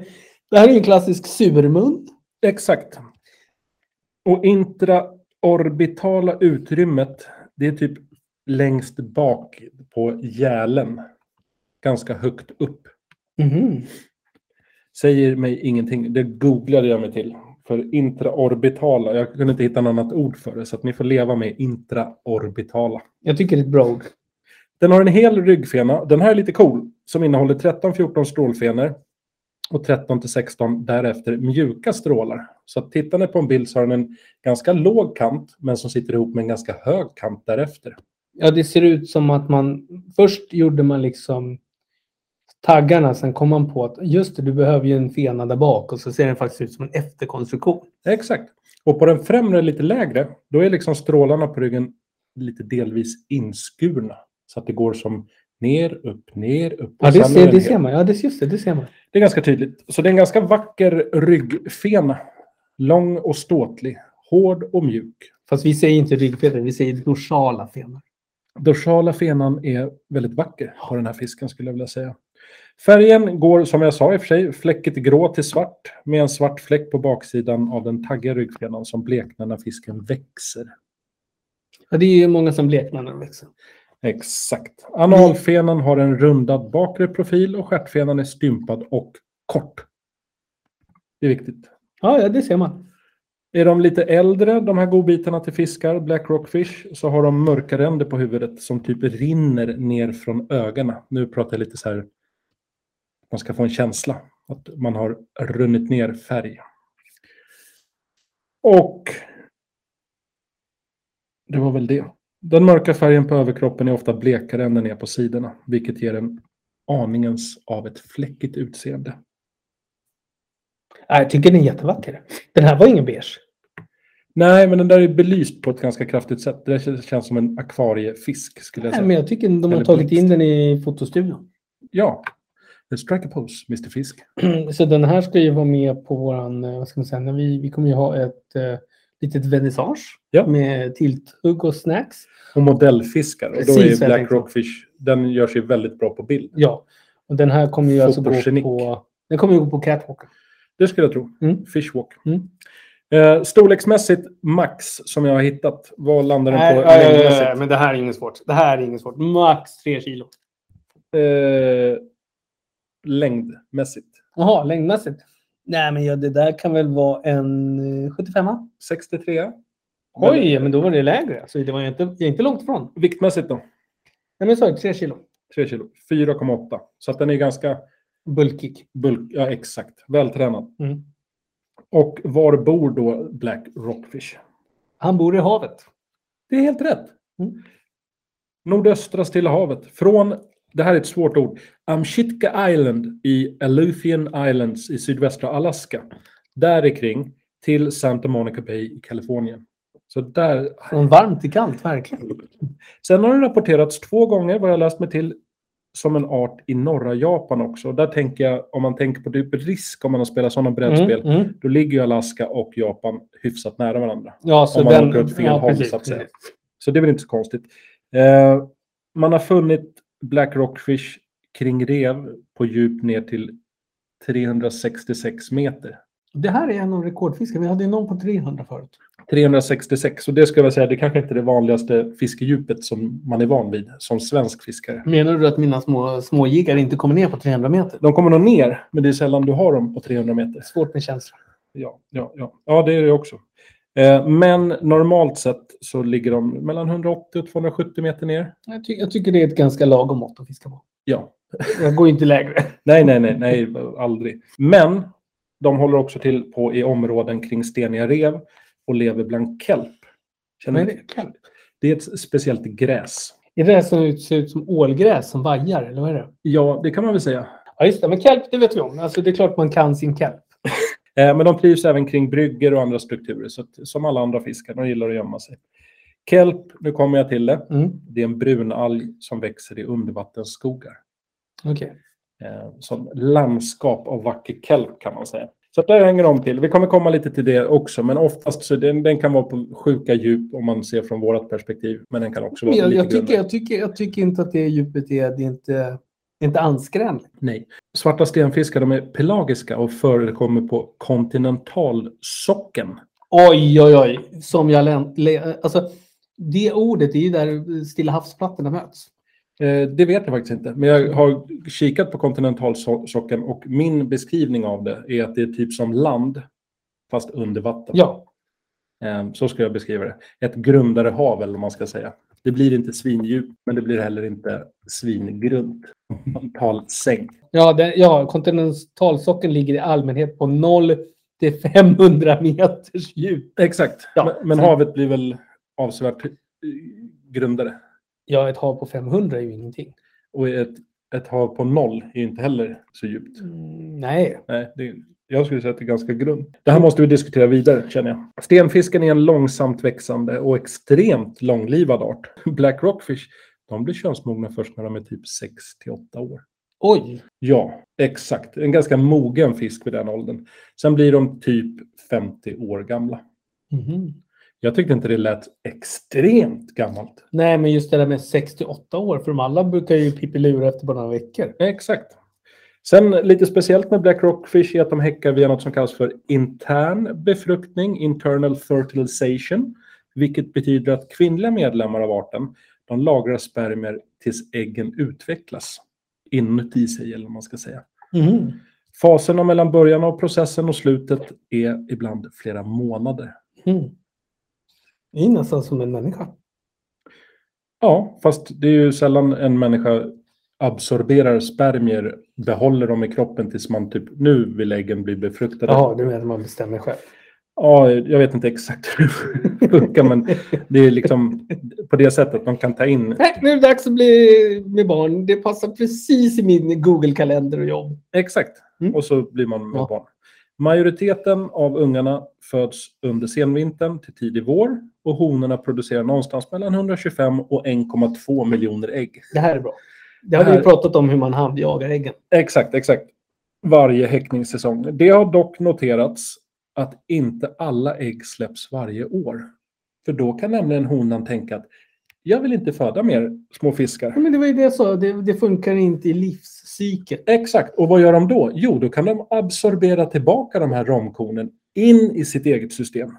C: det här är ju en klassisk surmun.
B: Exakt. Och intraorbitala utrymmet, det är typ längst bak på gälen. Ganska högt upp.
C: Mhm.
B: Säger mig ingenting. Det googlade jag mig till. För intraorbitala, jag kunde inte hitta något annat ord för det. Så att ni får leva med intraorbitala.
C: Jag tycker det är ett bra ord.
B: Den har en hel ryggfena. Den här är lite cool. Som innehåller 13-14 strålfenor. Och 13 till 16 därefter mjuka strålar. Så att tittar ni på en bild så har den en ganska låg kant. Men som sitter ihop med en ganska hög kant därefter.
C: Ja, det ser ut som att man... Först gjorde man liksom taggarna, sen kom man på att just det, du behöver ju en fena där bak och så ser den faktiskt ut som en efterkonstruktion.
B: Exakt. Och på den främre lite lägre. Då är liksom strålarna på ryggen lite delvis inskurna. Så att det går som ner, upp, ner, upp. och
C: Ja, det
B: sen är
C: ser,
B: den
C: det
B: hel.
C: ser man. Ja, det, just det, det ser man.
B: Det är ganska tydligt. Så det är en ganska vacker ryggfena. Lång och ståtlig. Hård och mjuk.
C: Fast vi säger inte ryggfenor, vi säger dorsala fenor.
B: dorsala fenan är väldigt vacker på den här fisken skulle jag vilja säga. Färgen går som jag sa i och för sig fläckigt grå till svart med en svart fläck på baksidan av den taggiga ryggfenan som bleknar när fisken växer.
C: Ja, det är ju många som bleknar när de växer.
B: Exakt. Analfenan har en rundad bakre profil och stjärtfenan är stympad och kort. Det är viktigt.
C: Ja, ja, det ser man.
B: Är de lite äldre, de här godbitarna till fiskar, black rockfish, så har de mörka ränder på huvudet som typ rinner ner från ögonen. Nu pratar jag lite så här, man ska få en känsla att man har runnit ner färg. Och det var väl det. Den mörka färgen på överkroppen är ofta blekare än den är på sidorna, vilket ger en aningens av ett fläckigt utseende.
C: Ja, jag tycker den är jättevacker. Den här var ingen beige.
B: Nej, men den där är belyst på ett ganska kraftigt sätt. Det där kän- känns som en akvariefisk skulle jag
C: Nej,
B: säga.
C: men jag tycker de har
B: Eller
C: tagit
B: blixt.
C: in den i fotostudion.
B: Ja. The strike a pose, Mr Fisk.
C: Så den här ska ju vara med på våran, eh, vad ska man säga, när vi, vi kommer ju ha ett eh, litet vernissage
B: Ja.
C: med tilltugg och snacks.
B: Och modellfiskar. Och då
C: Precis,
B: är
C: jag
B: Black
C: tänkte.
B: Rockfish, den gör sig väldigt bra på bild.
C: Ja, och den här kommer ju alltså gå
B: Fotogenik.
C: på, den kommer ju gå på catwalken.
B: Det skulle jag tro.
C: Mm.
B: Fishwalk.
C: Mm.
B: Eh, storleksmässigt, max, som jag har hittat. Vad landar den på längdmässigt?
C: men det här är inget svårt. Det här är inget svårt. Max tre kilo.
B: Eh, längdmässigt.
C: Jaha, längdmässigt. Nej, men ja, det där kan väl vara en eh, 75
B: 63.
C: Alltså, Oj, men då var det lägre. Så det var ju inte, jag är inte långt ifrån.
B: Viktmässigt då?
C: Nej, men jag sa ju tre kilo.
B: 3 kilo. 4,8. Så att den är ganska
C: Bulkig.
B: bulk, ja exakt, vältränad.
C: Mm.
B: Och var bor då Black Rockfish?
C: Han bor i havet.
B: Det är helt rätt.
C: Mm.
B: Nordöstra Stilla havet. Från, det här är ett svårt ord, Amchitka Island i Aleutian Islands i sydvästra Alaska. Där kring till Santa Monica Bay i Kalifornien. Så där.
C: Från varmt till kallt, verkligen.
B: Sen har den rapporterats två gånger, vad jag läst mig till, som en art i norra Japan också. Där tänker jag, om man tänker på typ risk om man har spelat sådana brädspel,
C: Mm, mm.
B: då ligger ju Alaska och Japan hyfsat nära varandra.
C: Ja, så
B: om man
C: den...
B: åker åt fel
C: ja,
B: håll,
C: precis,
B: så att säga.
C: precis.
B: Så det är väl inte så konstigt. Eh, man har funnit Black Rockfish kring rev på djup ner till 366 meter.
C: Det här är en av rekordfiskarna. Vi hade ju någon på 300 förut.
B: 366, och det ska jag väl säga, det kanske inte är det vanligaste fiskedjupet som man är van vid som svensk fiskare.
C: Menar du att mina små, småjiggar inte kommer ner på 300 meter?
B: De kommer nog ner, men det är sällan du har dem på 300 meter.
C: Svårt med känslor.
B: Ja, ja, ja. ja det är det också. Eh, men normalt sett så ligger de mellan 180 och 270 meter ner.
C: Jag, ty- jag tycker det är ett ganska lagom mått att fiska på.
B: Ja,
C: Jag går ju inte lägre.
B: Nej, nej, nej, nej, aldrig. Men de håller också till på i områden kring steniga rev och lever bland kelp. Känner
C: Men
B: ni
C: det,
B: det? Det är ett speciellt gräs.
C: är det det som ser ut som ålgräs som vajar, eller vad är det?
B: Ja, det kan man väl säga.
C: Ja, just det. Men kelp, det vet vi om. Alltså, det är klart man kan sin kelp.
B: Eh, Men de trivs även kring bryggor och andra strukturer, så att, som alla andra fiskar. De gillar att gömma sig. Kelp, nu kommer jag till det.
C: Mm.
B: Det är en brunalg som växer i undervattensskogar.
C: Okej.
B: eh, som landskap av vacker kelp kan man säga. Så att där hänger de till. Vi kommer komma lite till det också, men oftast så den, den kan vara på sjuka djup om man ser från vårt perspektiv, men den kan också vara
C: Men Jag,
B: lite
C: jag, tycker,
B: grundare.
C: jag, tycker, jag tycker inte att det djupet är... Det är inte, det är inte anskrämligt.
B: Nej. Svarta stenfiskar de är pelagiska och förekommer på kontinentalsocken.
C: Oj, oj, oj. Som jag... lä- lä- Alltså, det ordet är ju där Stilla havsplattorna möts.
B: Eh, det vet jag faktiskt inte, men jag har kikat på kontinentalsocken och min beskrivning av det är att det är typ som land, fast under vatten.
C: Ja,
B: Ehm, Så ska jag beskriva det. Ett grundare hav, eller vad man ska säga. Det blir inte svindjupt, men det blir heller inte svingrunt. Antal sänk.
C: Ja, den, ja kontinentalsockeln ligger i allmänhet på 0 till 500 meters djup.
B: Exakt.
C: Ja,
B: men men
C: sen-
B: havet blir väl avsevärt eh, grundare.
C: Ja, ett hav på 500 är ju ingenting.
B: Och ett, ett hav på noll är ju inte heller så djupt.
C: Mm, nej.
B: Nej, det, jag skulle säga att det är ganska grunt. Det här måste vi diskutera vidare, känner jag. Stenfisken är en långsamt växande och extremt långlivad art. Black rockfish, de blir könsmogna först när de är typ 6 till 8 år.
C: Oj.
B: Ja, exakt. En ganska mogen fisk vid den åldern. Sen blir de typ 50 år gamla.
C: Mhm.
B: Jag tyckte inte det lät extremt gammalt.
C: Nej, men just det där med 68 år, för de alla brukar ju pippilura efter bara några veckor.
B: Nej, exakt. Sen lite speciellt med Black Rockfish är att de häckar via något som kallas för intern befruktning, internal fertilization, vilket betyder att kvinnliga medlemmar av arten, de lagrar spermier tills äggen utvecklas inuti sig, eller vad man ska säga.
C: Mhm.
B: Faserna mellan början av processen och slutet är ibland flera månader.
C: Mm. Det är nästan som en människa.
B: Ja, fast det är ju sällan en människa absorberar spermier, behåller dem i kroppen tills man typ nu vill äggen bli befruktade.
C: Jaha, du menar att man bestämmer själv.
B: Ja, jag vet inte exakt hur det funkar, men det är liksom på det sättet de kan ta in.
C: Nej, nu är det dags att bli med barn. Det passar precis i min Google-kalender och jobb.
B: Exakt,
C: Mm.
B: och så blir man med
C: Ja.
B: barn. Majoriteten av ungarna föds under senvintern till tidig vår och honorna producerar någonstans mellan 125 och 1,2 miljoner ägg.
C: Det här är bra. Det har vi
B: Det
C: ju
B: här-
C: pratat om hur man handjagar äggen.
B: Exakt, exakt. Varje häckningssäsong. Det har dock noterats att inte alla ägg släpps varje år. För då kan nämligen honan tänka att jag vill inte föda mer små fiskar.
C: Ja, men det var ju det jag sa, det, det funkar inte i livscykeln.
B: Exakt, och vad gör de då? Jo, då kan de absorbera tillbaka de här romkornen in i sitt eget system.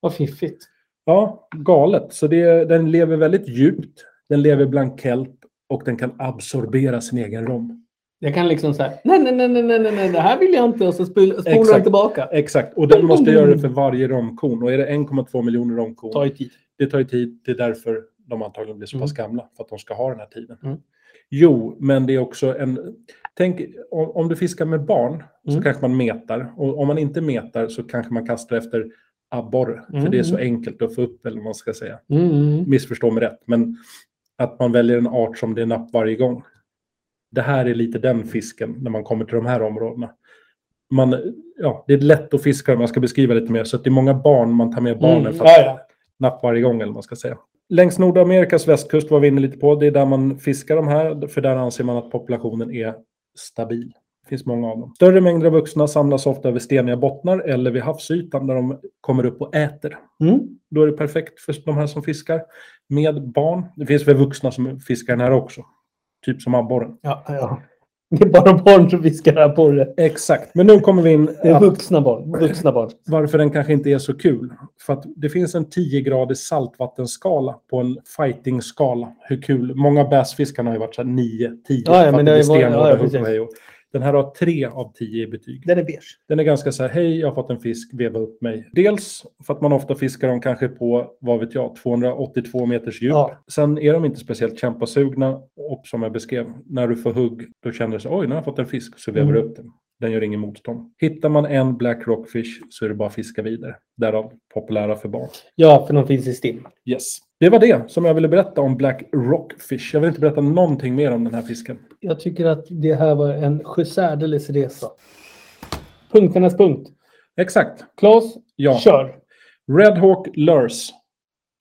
C: Vad fiffigt.
B: Ja, galet. Så det, den lever väldigt djupt, den lever bland kelp och den kan absorbera sin egen rom.
C: Jag kan liksom säga, nej, nej, nej, nej, nej, nej, nej, det här vill jag inte. Och så spol- spolar den
B: Exakt.
C: tillbaka.
B: Exakt, och den måste göra det för varje romkorn. Och är det 1,2 miljoner romkorn
C: Det tar ju tid.
B: det tar ju tid. Det är därför de antagligen blir så
C: Mm.
B: pass gamla för att de ska ha den här tiden.
C: Mm.
B: Jo, men det är också en... Tänk, om, om du fiskar med barn så
C: Mm.
B: kanske man metar. Och om man inte metar så kanske man kastar efter abborre. För
C: Mm,
B: det är så
C: mm.
B: enkelt att få upp, eller vad man ska säga.
C: Mm, mm.
B: Missförstå mig rätt, men att man väljer en art som det är napp varje gång. Det här är lite den fisken när man kommer till de här områdena. Man, ja, det är lätt att fiska om jag ska beskriva lite mer. Så att det är många barn, man tar med barnen
C: Mm,
B: för att
C: ja, ja.
B: napp varje gång. Eller vad man ska säga. Längs Nordamerikas västkust var vi inne lite på. Det är där man fiskar de här, för där anser man att populationen är stabil. Det finns många av dem. Större mängder av vuxna samlas ofta över steniga bottnar eller vid havsytan där de kommer upp och äter.
C: Mm.
B: Då är det perfekt för de här som fiskar med barn. Det finns väl vuxna som fiskar den här också. Typ som abborren.
C: Ja, ja. Det är bara barn som viskar här på det.
B: Exakt. Men nu kommer vi in
C: Det är
B: att
C: vuxna barn. Vuxna barn.
B: varför den kanske inte är så kul. För att det finns en 10-gradig saltvattenskala på en fighting-skala. Hur kul. Många bassfiskarna har ju varit så här 9, 10.
C: Ja, ja,
B: för att
C: men
B: de
C: det
B: blir
C: har ju varit-
B: stenhårda
C: ja, ja,
B: hook och
C: precis.
B: hej och- Den här har 3 av 10 i betyg.
C: Den är beige.
B: Den är ganska så här, hej, jag har fått en fisk, veva upp mig. Dels för att man ofta fiskar dem kanske på, vad vet jag, 282 meters djup.
C: Ja.
B: Sen är de inte speciellt kämpasugna och som jag beskrev, när du får hugg, då känner du så, oj, nu har jag fått en fisk, så vevar du
C: Mm.
B: upp den. Den gör ingen motstånd. Hittar man en black rockfish så är det bara att fiska vidare. Därav populära för barn.
C: Ja, för de finns i STIM.
B: Yes. Det var det som jag ville berätta om black rockfish. Jag vill inte berätta någonting mer om den här fisken.
C: Jag tycker att det här var en särdeles resa. Punkternas punkt.
B: Exakt.
C: Claes,
B: Ja.
C: kör.
B: Red Hawk Lures.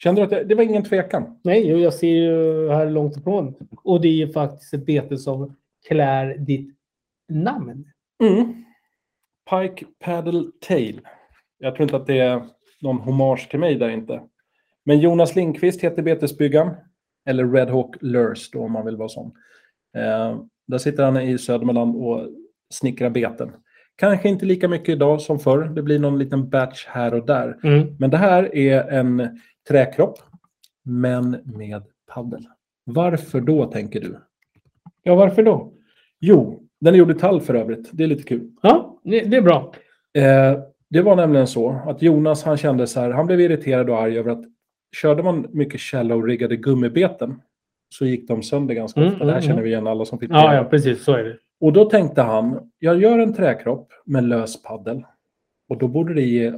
B: Kände du att det, det var ingen tvekan?
C: Nej, jo, jag ser ju här långt ifrån. Och det är ju faktiskt ett bete som klär ditt namn.
B: Mm. Pike Paddle Tail. Jag tror inte att det är någon hommage till mig där inte. Men Jonas Lindqvist heter betesbyggaren. Eller Red Hawk Lures då om man vill vara sån. Eh, där sitter han i Södermanland och snickrar beten. Kanske inte lika mycket idag som förr. Det blir någon liten batch här och där.
C: Mm.
B: Men det här är en träkropp, men med paddel. Varför då, tänker du?
C: Ja, varför då?
B: Jo, den är gjord i tall för övrigt. Det är lite kul.
C: Ja, det det är bra.
B: Eh, det var nämligen så att Jonas han kände så här, han blev irriterad och arg över att körde man mycket shallow-riggade gummibeten så gick de sönder ganska
C: Mm,
B: ofta. Det här
C: mm,
B: känner
C: mm.
B: vi igen alla som fick
C: Ja,
B: det.
C: ja, precis. Så är det.
B: Och då tänkte han, jag gör en träkropp med lös paddel och då borde det ge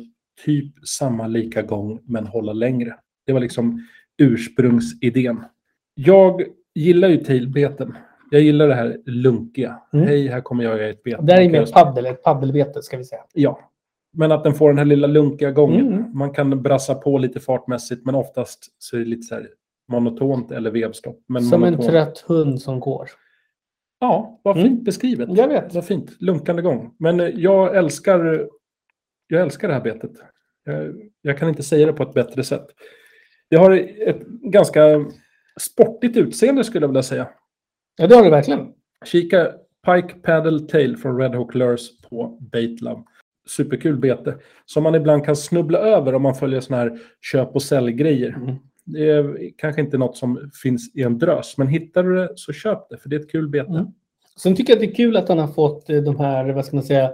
B: typ samma lika gång men hålla längre. Det var liksom ursprungsidén. Jag gillar ju tailbeten. Jag gillar det här lunkiga.
C: Mm.
B: Hej, här kommer jag i ett bete.
C: Där är
B: Okej,
C: mer paddel, ett paddelbete ska vi säga.
B: Ja. Men att den får den här lilla lunkiga gången.
C: Mm.
B: Man kan brassa på lite fartmässigt, men oftast så är det lite så här monotont eller vevstopp. Men
C: Som en
B: monotont.
C: trött hund som går.
B: Ja, vad fint
C: Mm.
B: beskrivet.
C: Jag vet.
B: Vad fint. Lunkande gång. Men eh, jag älskar, jag älskar det här betet. Jag, jag kan inte säga det på ett bättre sätt. Det har ett ganska sportigt utseende skulle jag vilja säga.
C: Ja, det har du verkligen.
B: Kika Pike Paddle Tail från Red Hawk Lures på Baitlab. Superkul bete som man ibland kan snubbla över om man följer sådana här köp och säljgrejer.
C: Mm.
B: Det är kanske inte något som finns i en drös, men hittar du det så köp det, för det är ett kul bete.
C: Mm. Sen tycker jag att det är kul att han har fått eh, de här, vad ska man säga,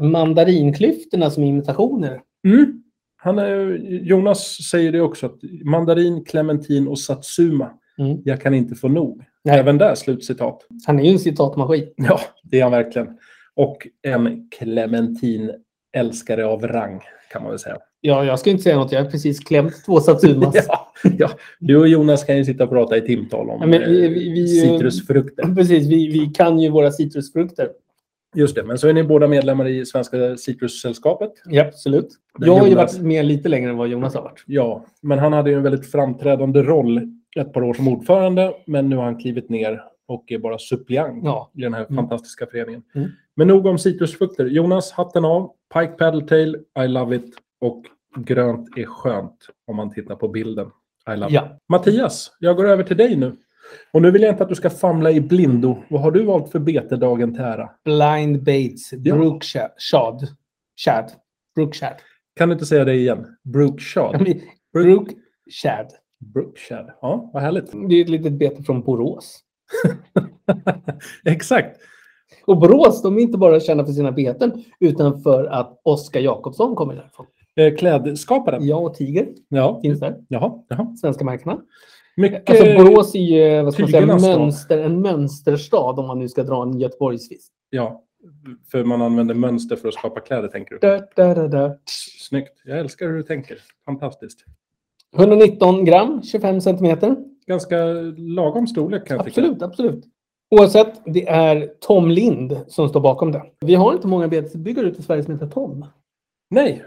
C: mandarinklyftorna som imitationer.
B: Mm. Han är, Jonas säger det också, att mandarin, clementin och satsuma,
C: Mm.
B: jag kan inte få nog.
C: Nej.
B: Även där, slutcitat.
C: Han är ju en citatmaskin.
B: Ja, det är han verkligen. Och en clementinälskare av rang, kan man väl säga.
C: Ja, jag ska inte säga något. Jag har precis klämt två satsumas.
B: Ja, ja. Du och Jonas kan ju sitta och prata i timtal om
C: Ja, men vi-
B: eh,
C: vi- vi-
B: citrusfrukter.
C: Precis, vi, vi kan ju våra citrusfrukter.
B: Just det, men så är ni båda medlemmar i Svenska Citrussällskapet.
C: Ja, absolut.
B: Men
C: jag har ju
B: Jonas-
C: varit med lite längre än vad Jonas har varit.
B: Ja, men han hade ju en väldigt framträdande roll ett par år som ordförande, men nu har han klivit ner och är bara suppleant
C: Ja.
B: i den här
C: Mm.
B: fantastiska föreningen.
C: Mm.
B: Men nog om citrusfrukter. Jonas, hatten av. Pike Paddletail, I love it. Och grönt är skönt om man tittar på bilden. I love
C: ja.
B: Mattias, jag går över till dig nu. Och nu vill jag inte att du ska famla i blindo. Vad har du valt för bete dagen till ära?
C: Blind Bates, Brookshad. Shad. Brookshad.
B: Kan du inte säga det igen? Brookshad.
C: Brookshad.
B: Brookshad. Ja, vad härligt.
C: Det är ett litet bete från Borås.
B: Exakt.
C: Och Borås, de är inte bara kända för sina beten, utan för att Oskar Jakobsson kommer därifrån.
B: Eh, Klädskaparen.
C: Jag och Tiger
B: Ja.
C: finns där,
B: Jaha. Jaha.
C: svenska marknaden.
B: Mycket...
C: Alltså Borås är ju vad ska man säga,
B: Tygernas Eh, stad.
C: mönster, en mönsterstad om man nu ska dra en Göteborgsvits.
B: Ja, för man använder mönster för att skapa kläder, tänker du.
C: Da, da, da, da.
B: Snyggt. Jag älskar hur du tänker. Fantastiskt.
C: 119 gram, 25 centimeter.
B: Ganska lagom storlek kan jag tycka.
C: Absolut, absolut. Oavsett, det är Tom Lind som står bakom det. Vi har inte många betesbyggare ute i Sverige som heter Tom.
B: Nej.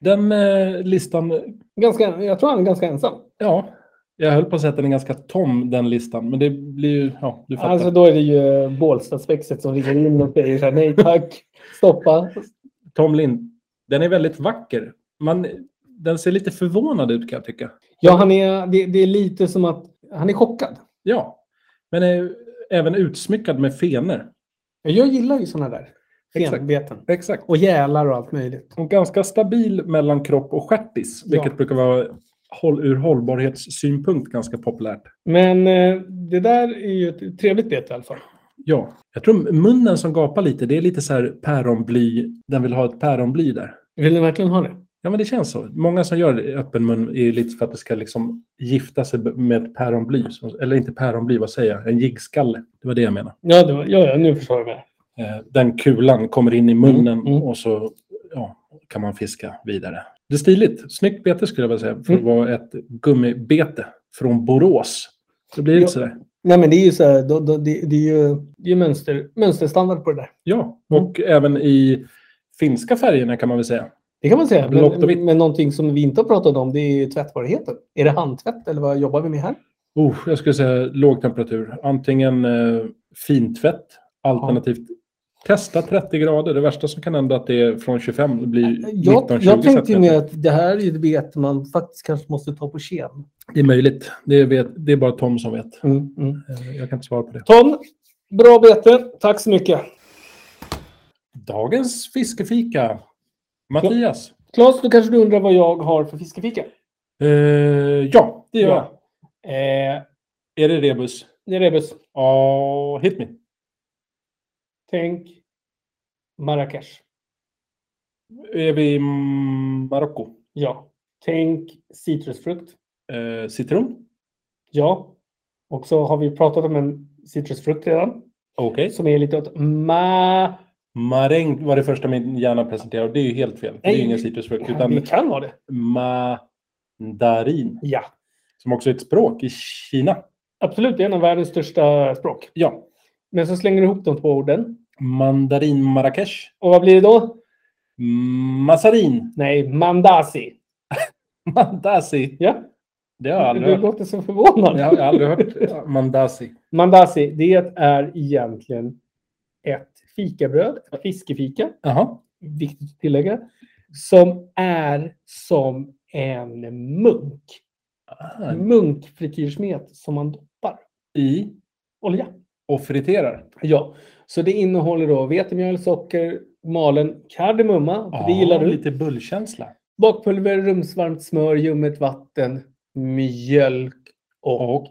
B: Den eh, listan
C: Ganska, jag tror han är ganska ensam.
B: Ja, jag höll på att säga att den är ganska tom, den listan. Men det blir ju... Ja, du fattar.
C: Alltså då är det ju Bålstaspexet som ringer in och säger så här, nej tack, stoppa.
B: Tom Lind. Den är väldigt vacker. Man, den ser lite förvånad ut kan jag tycka.
C: Ja, han är, det, det är lite som att han är chockad.
B: Ja, men är även utsmyckad med fenor.
C: Jag gillar ju sådana där
B: Exakt.
C: fenbeten.
B: Exakt.
C: Och gälar och allt möjligt.
B: Och ganska stabil mellan kropp och stjärtis, vilket
C: Ja.
B: brukar vara håll, ur hållbarhetssynpunkt ganska populärt.
C: Men eh, det där är ju ett trevligt bete i alla fall.
B: Ja, jag tror munnen som gapar lite, det är lite så här päronbly. Den vill ha ett päronbly där.
C: Vill du verkligen ha det?
B: Ja, men det känns så. Många som gör det i öppen mun är ju lite för att det ska liksom gifta sig med ett päronbly. Så- Eller inte päronbly, vad säger jag? En jiggskalle. Det var det jag menade.
C: Ja, det var, ja, ja nu förstår jag mig.
B: Eh, Den kulan kommer in i munnen
C: Mm, mm.
B: och så ja, kan man fiska vidare. Det är stiligt. Snyggt bete skulle jag vilja säga för att
C: Mm.
B: vara ett gummibete från Borås. Det blir
C: Ja.
B: lite sådär.
C: Nej, men det är ju så här, då, då, det, det är ju det är ju mönster, mönsterstandard på det där.
B: Ja,
C: Mm.
B: och även i finska färgerna kan man väl säga.
C: Det kan man säga.
B: Blått och vitt.
C: Men, men någonting som vi inte har pratat om, det är ju tvättbarheten. Är det handtvätt eller vad jobbar vi med här?
B: Oh, jag skulle säga låg temperatur. Antingen eh, fintvätt, alternativt testa 30 grader. Det värsta som kan hända är att det är från 25 det blir 19-20
C: Eh, Jag, jag tänkte ju
B: centimeter.
C: mer att det här är ju ett bete man faktiskt kanske måste ta på kem.
B: Det är möjligt. Det, vet, det är bara Tom som vet.
C: Mm, mm.
B: Eh, Jag kan inte svara på det.
C: Tom, bra bete. Tack så mycket.
B: Dagens fiskefika. Mattias.
C: Claes, då kanske du undrar vad jag har för fiskefika?
B: Eh, ja, det gör jag.
C: Ja. Eh,
B: Är det rebus?
C: det är rebus.
B: Ja, hit me.
C: Tänk Marrakesh.
B: Är vi i Marocko?
C: Ja. Tänk citrusfrukt.
B: Eh, citron?
C: Ja. Och så har vi pratat om en citrusfrukt redan.
B: Okej.
C: Som är lite åt ma...
B: Maräng var det första min hjärna presenterade och det är ju helt fel. Det är ju
C: Nej.
B: ingen citrusfrukt
C: Ja,
B: utan
C: det kan vara det.
B: mandarin,
C: Ja.
B: som också är ett språk i Kina.
C: Absolut, det är en av världens största språk.
B: Ja,
C: Men så slänger du ihop de två orden.
B: mandarin Marrakesh,
C: Och vad blir det då?
B: mazarin,
C: Nej, mandasi.
B: mandasi.
C: Ja,
B: Det har jag aldrig
C: du
B: hört.
C: låter så förvånad.
B: Jag har jag har aldrig hört mandasi.
C: Mandasi, det är egentligen ett fikabröd, ett fiskefika,
B: Jaha,
C: viktigt att tillägga, som är som en munk.
B: Ah,
C: Munkfrityrsmet som man doppar
B: i
C: olja.
B: och friterar.
C: Ja, så det innehåller då vetemjöl, socker, malen kardemumma, för det
B: Ah,
C: gillar du.
B: Lite bullkänsla.
C: Bakpulver, rumsvarmt smör, ljummet vatten, mjölk och
B: Och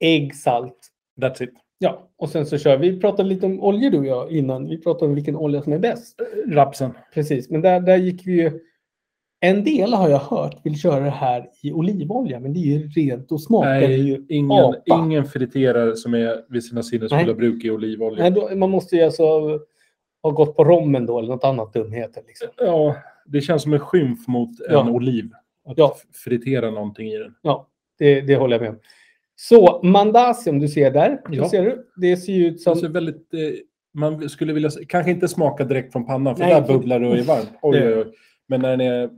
C: äggsalt.
B: that's it.
C: Ja, och sen så kör vi. Vi pratade lite om oljor du och jag innan. Vi pratade om vilken olja som är bäst.
B: Rapsen.
C: Precis, men där, där gick vi ju... En del har jag hört vill köra det här i olivolja, men det är ju rent och smakar
B: Nej,
C: ju
B: ingen,
C: apa.
B: ingen friterar som är vid sina sinnesfulla
C: Nej.
B: bruk i olivolja.
C: Nej, då, man måste ju alltså ha gått på rommen då eller något annat dumheter. Liksom.
B: Ja, det känns som en skymf mot en
C: Ja.
B: oliv. Att
C: Ja.
B: fritera någonting i den.
C: Ja, det, det håller jag med om. Så mandasi om du ser där.
B: Ja.
C: Ja. Ser du? Det ser ju ut
B: Det
C: som...
B: ser väldigt, eh, man skulle vilja, kanske inte smaka direkt från pannan för
C: Nej,
B: där
C: inte.
B: bubblar det och är varmt. Oj, oj, oj. Men när den är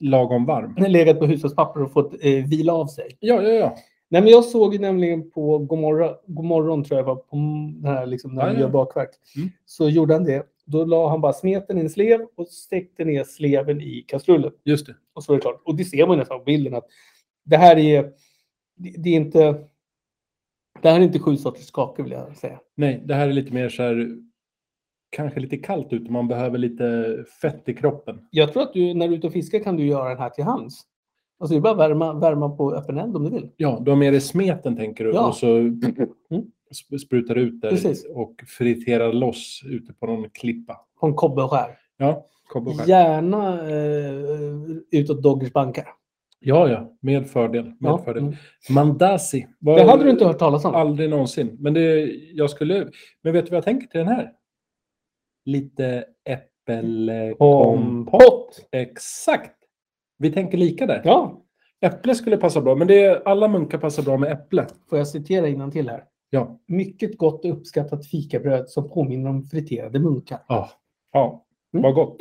B: lagom varm.
C: Den har legat på hushållspapper och fått eh, vila av sig.
B: Ja, ja, ja.
C: Nej, men jag såg ju nämligen på Gomorra, Gomorron, tror jag var, på m- den här, liksom, när
B: Ja,
C: han
B: ja.
C: gör bakverk.
B: Mm.
C: Så gjorde han det. Då la han bara smeten i en slev och stekte ner sleven i kastrullen.
B: Just det.
C: Och så är det klart. Och det ser man ju nästan på bilden att det här är, det, det är inte, det här är inte sju sorters kakor vill jag säga.
B: Nej, det här är lite mer så här, kanske lite kallt ute. Man behöver lite fett i kroppen.
C: Jag tror att du, när du är ute och fiskar kan du göra den här till hands. Alltså det är bara att värma, värma på öppen eld om du vill.
B: Ja, du har med dig smeten tänker du
C: Ja.
B: och så sp- sprutar du ut där
C: Precis.
B: och friterar loss ute på någon klippa.
C: På en kobbe och skär.
B: Ja, kobb och skär.
C: Gärna eh, utåt doggers bankar.
B: Ja, ja. Med fördel. Med
C: Ja.
B: fördel.
C: Mm.
B: Mandasi. Var,
C: Det hade du inte hört talas om?
B: Aldrig någonsin. Men, det, jag skulle, men vet du vad jag tänker till den här? Lite äppelkompott.
C: Kompott!
B: Exakt. Vi tänker lika där.
C: Ja,
B: Äpple skulle passa bra, men det är, alla munkar passar bra med äpple.
C: får jag citera innan till här?
B: Ja.
C: Mycket gott och uppskattat fikabröd som påminner om friterade munkar.
B: Ja. ja.
C: Mm.
B: Vad gott.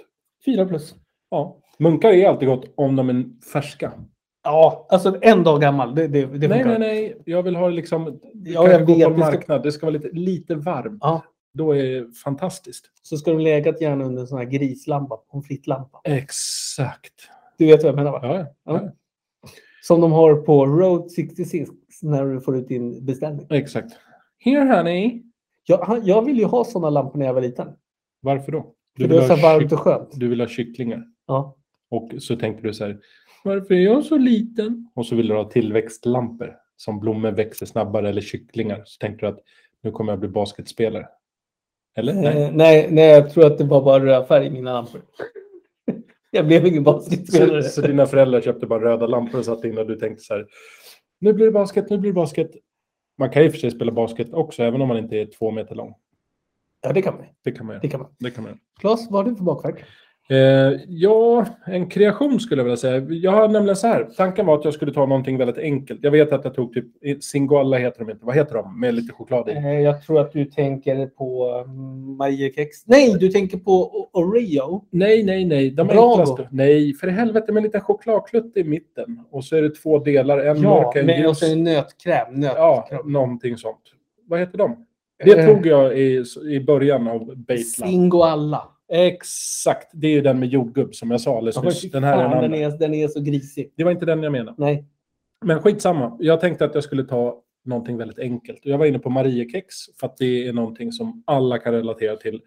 C: Fyra plus.
B: Ja. Munkar är alltid gott om de är färska.
C: Ja, alltså en dag gammal. Det, det, det
B: nej,
C: funkar.
B: nej, nej. Jag vill ha det liksom...
C: Ja, jag
B: gå
C: vet.
B: på
C: Det ska,
B: marknad. Det ska vara lite, lite varmt.
C: Ja.
B: Då är det fantastiskt.
C: så ska de lägga gärna under en sån här grislampa, pommes frites-lampa.
B: Exakt.
C: Du vet vad jag menar va?
B: Ja, ja.
C: Ja. Som de har på Road 66 när du får ut din beställning.
B: ja. Exakt. Here honey.
C: Jag, han- jag ville ju ha såna lampor när jag var liten.
B: Varför då?
C: För det var så varmt och skönt.
B: du vill ha kycklingar.
C: Ja.
B: Och så tänkte du så här. Varför är jag så liten? Och så vill du ha tillväxtlampor. Som blommor växer snabbare eller kycklingar. Så tänkte du att nu kommer jag bli basketspelare. Eller? Nej.
C: Eh, nej, nej, jag tror att det var bara röd färg i mina lampor. jag blev ingen
B: Så,
C: basketspelare.
B: så dina föräldrar köpte bara röda lampor och satte in och du tänkte så här. Nu blir det basket, nu blir det basket. Man kan ju i och för sig spela basket också, även om man inte är två meter lång.
C: Ja, det kan man.
B: Det kan man göra.
C: Det kan man.
B: Det kan man göra.
C: Claes, vad har du för bakverk?
B: Eh, ja, en kreation skulle jag vilja säga. Jag har nämligen så här. Tanken var att jag skulle ta någonting väldigt enkelt. Jag vet att jag tog typ Singoalla heter de inte. Vad heter de? Med lite choklad i.
C: Eh, jag tror att du tänker på Mariekex. Nej, du tänker på Oreo.
B: Nej, nej, nej. De
C: Bravo.
B: enklaste. Nej, för i helvete med en liten chokladklutt i mitten. Och så är det två delar. En
C: Ja,
B: mörk, en
C: men och
B: ljus.
C: så är det nötkräm. Nöt.
B: Ja, någonting sånt. Vad heter de?
C: Eh.
B: Det tog jag i, i början av Baitland.
C: Singo alla.
B: Exakt. Det är ju den med jordgubb som jag sa alldeles nyss. Den här är den
C: Fan, den,
B: andra.
C: är, den är så grisig.
B: Det var inte den jag menade.
C: Nej.
B: Men skitsamma. Jag tänkte att jag skulle ta någonting väldigt enkelt. Jag var inne på Mariekex för att det är någonting som alla kan relatera till.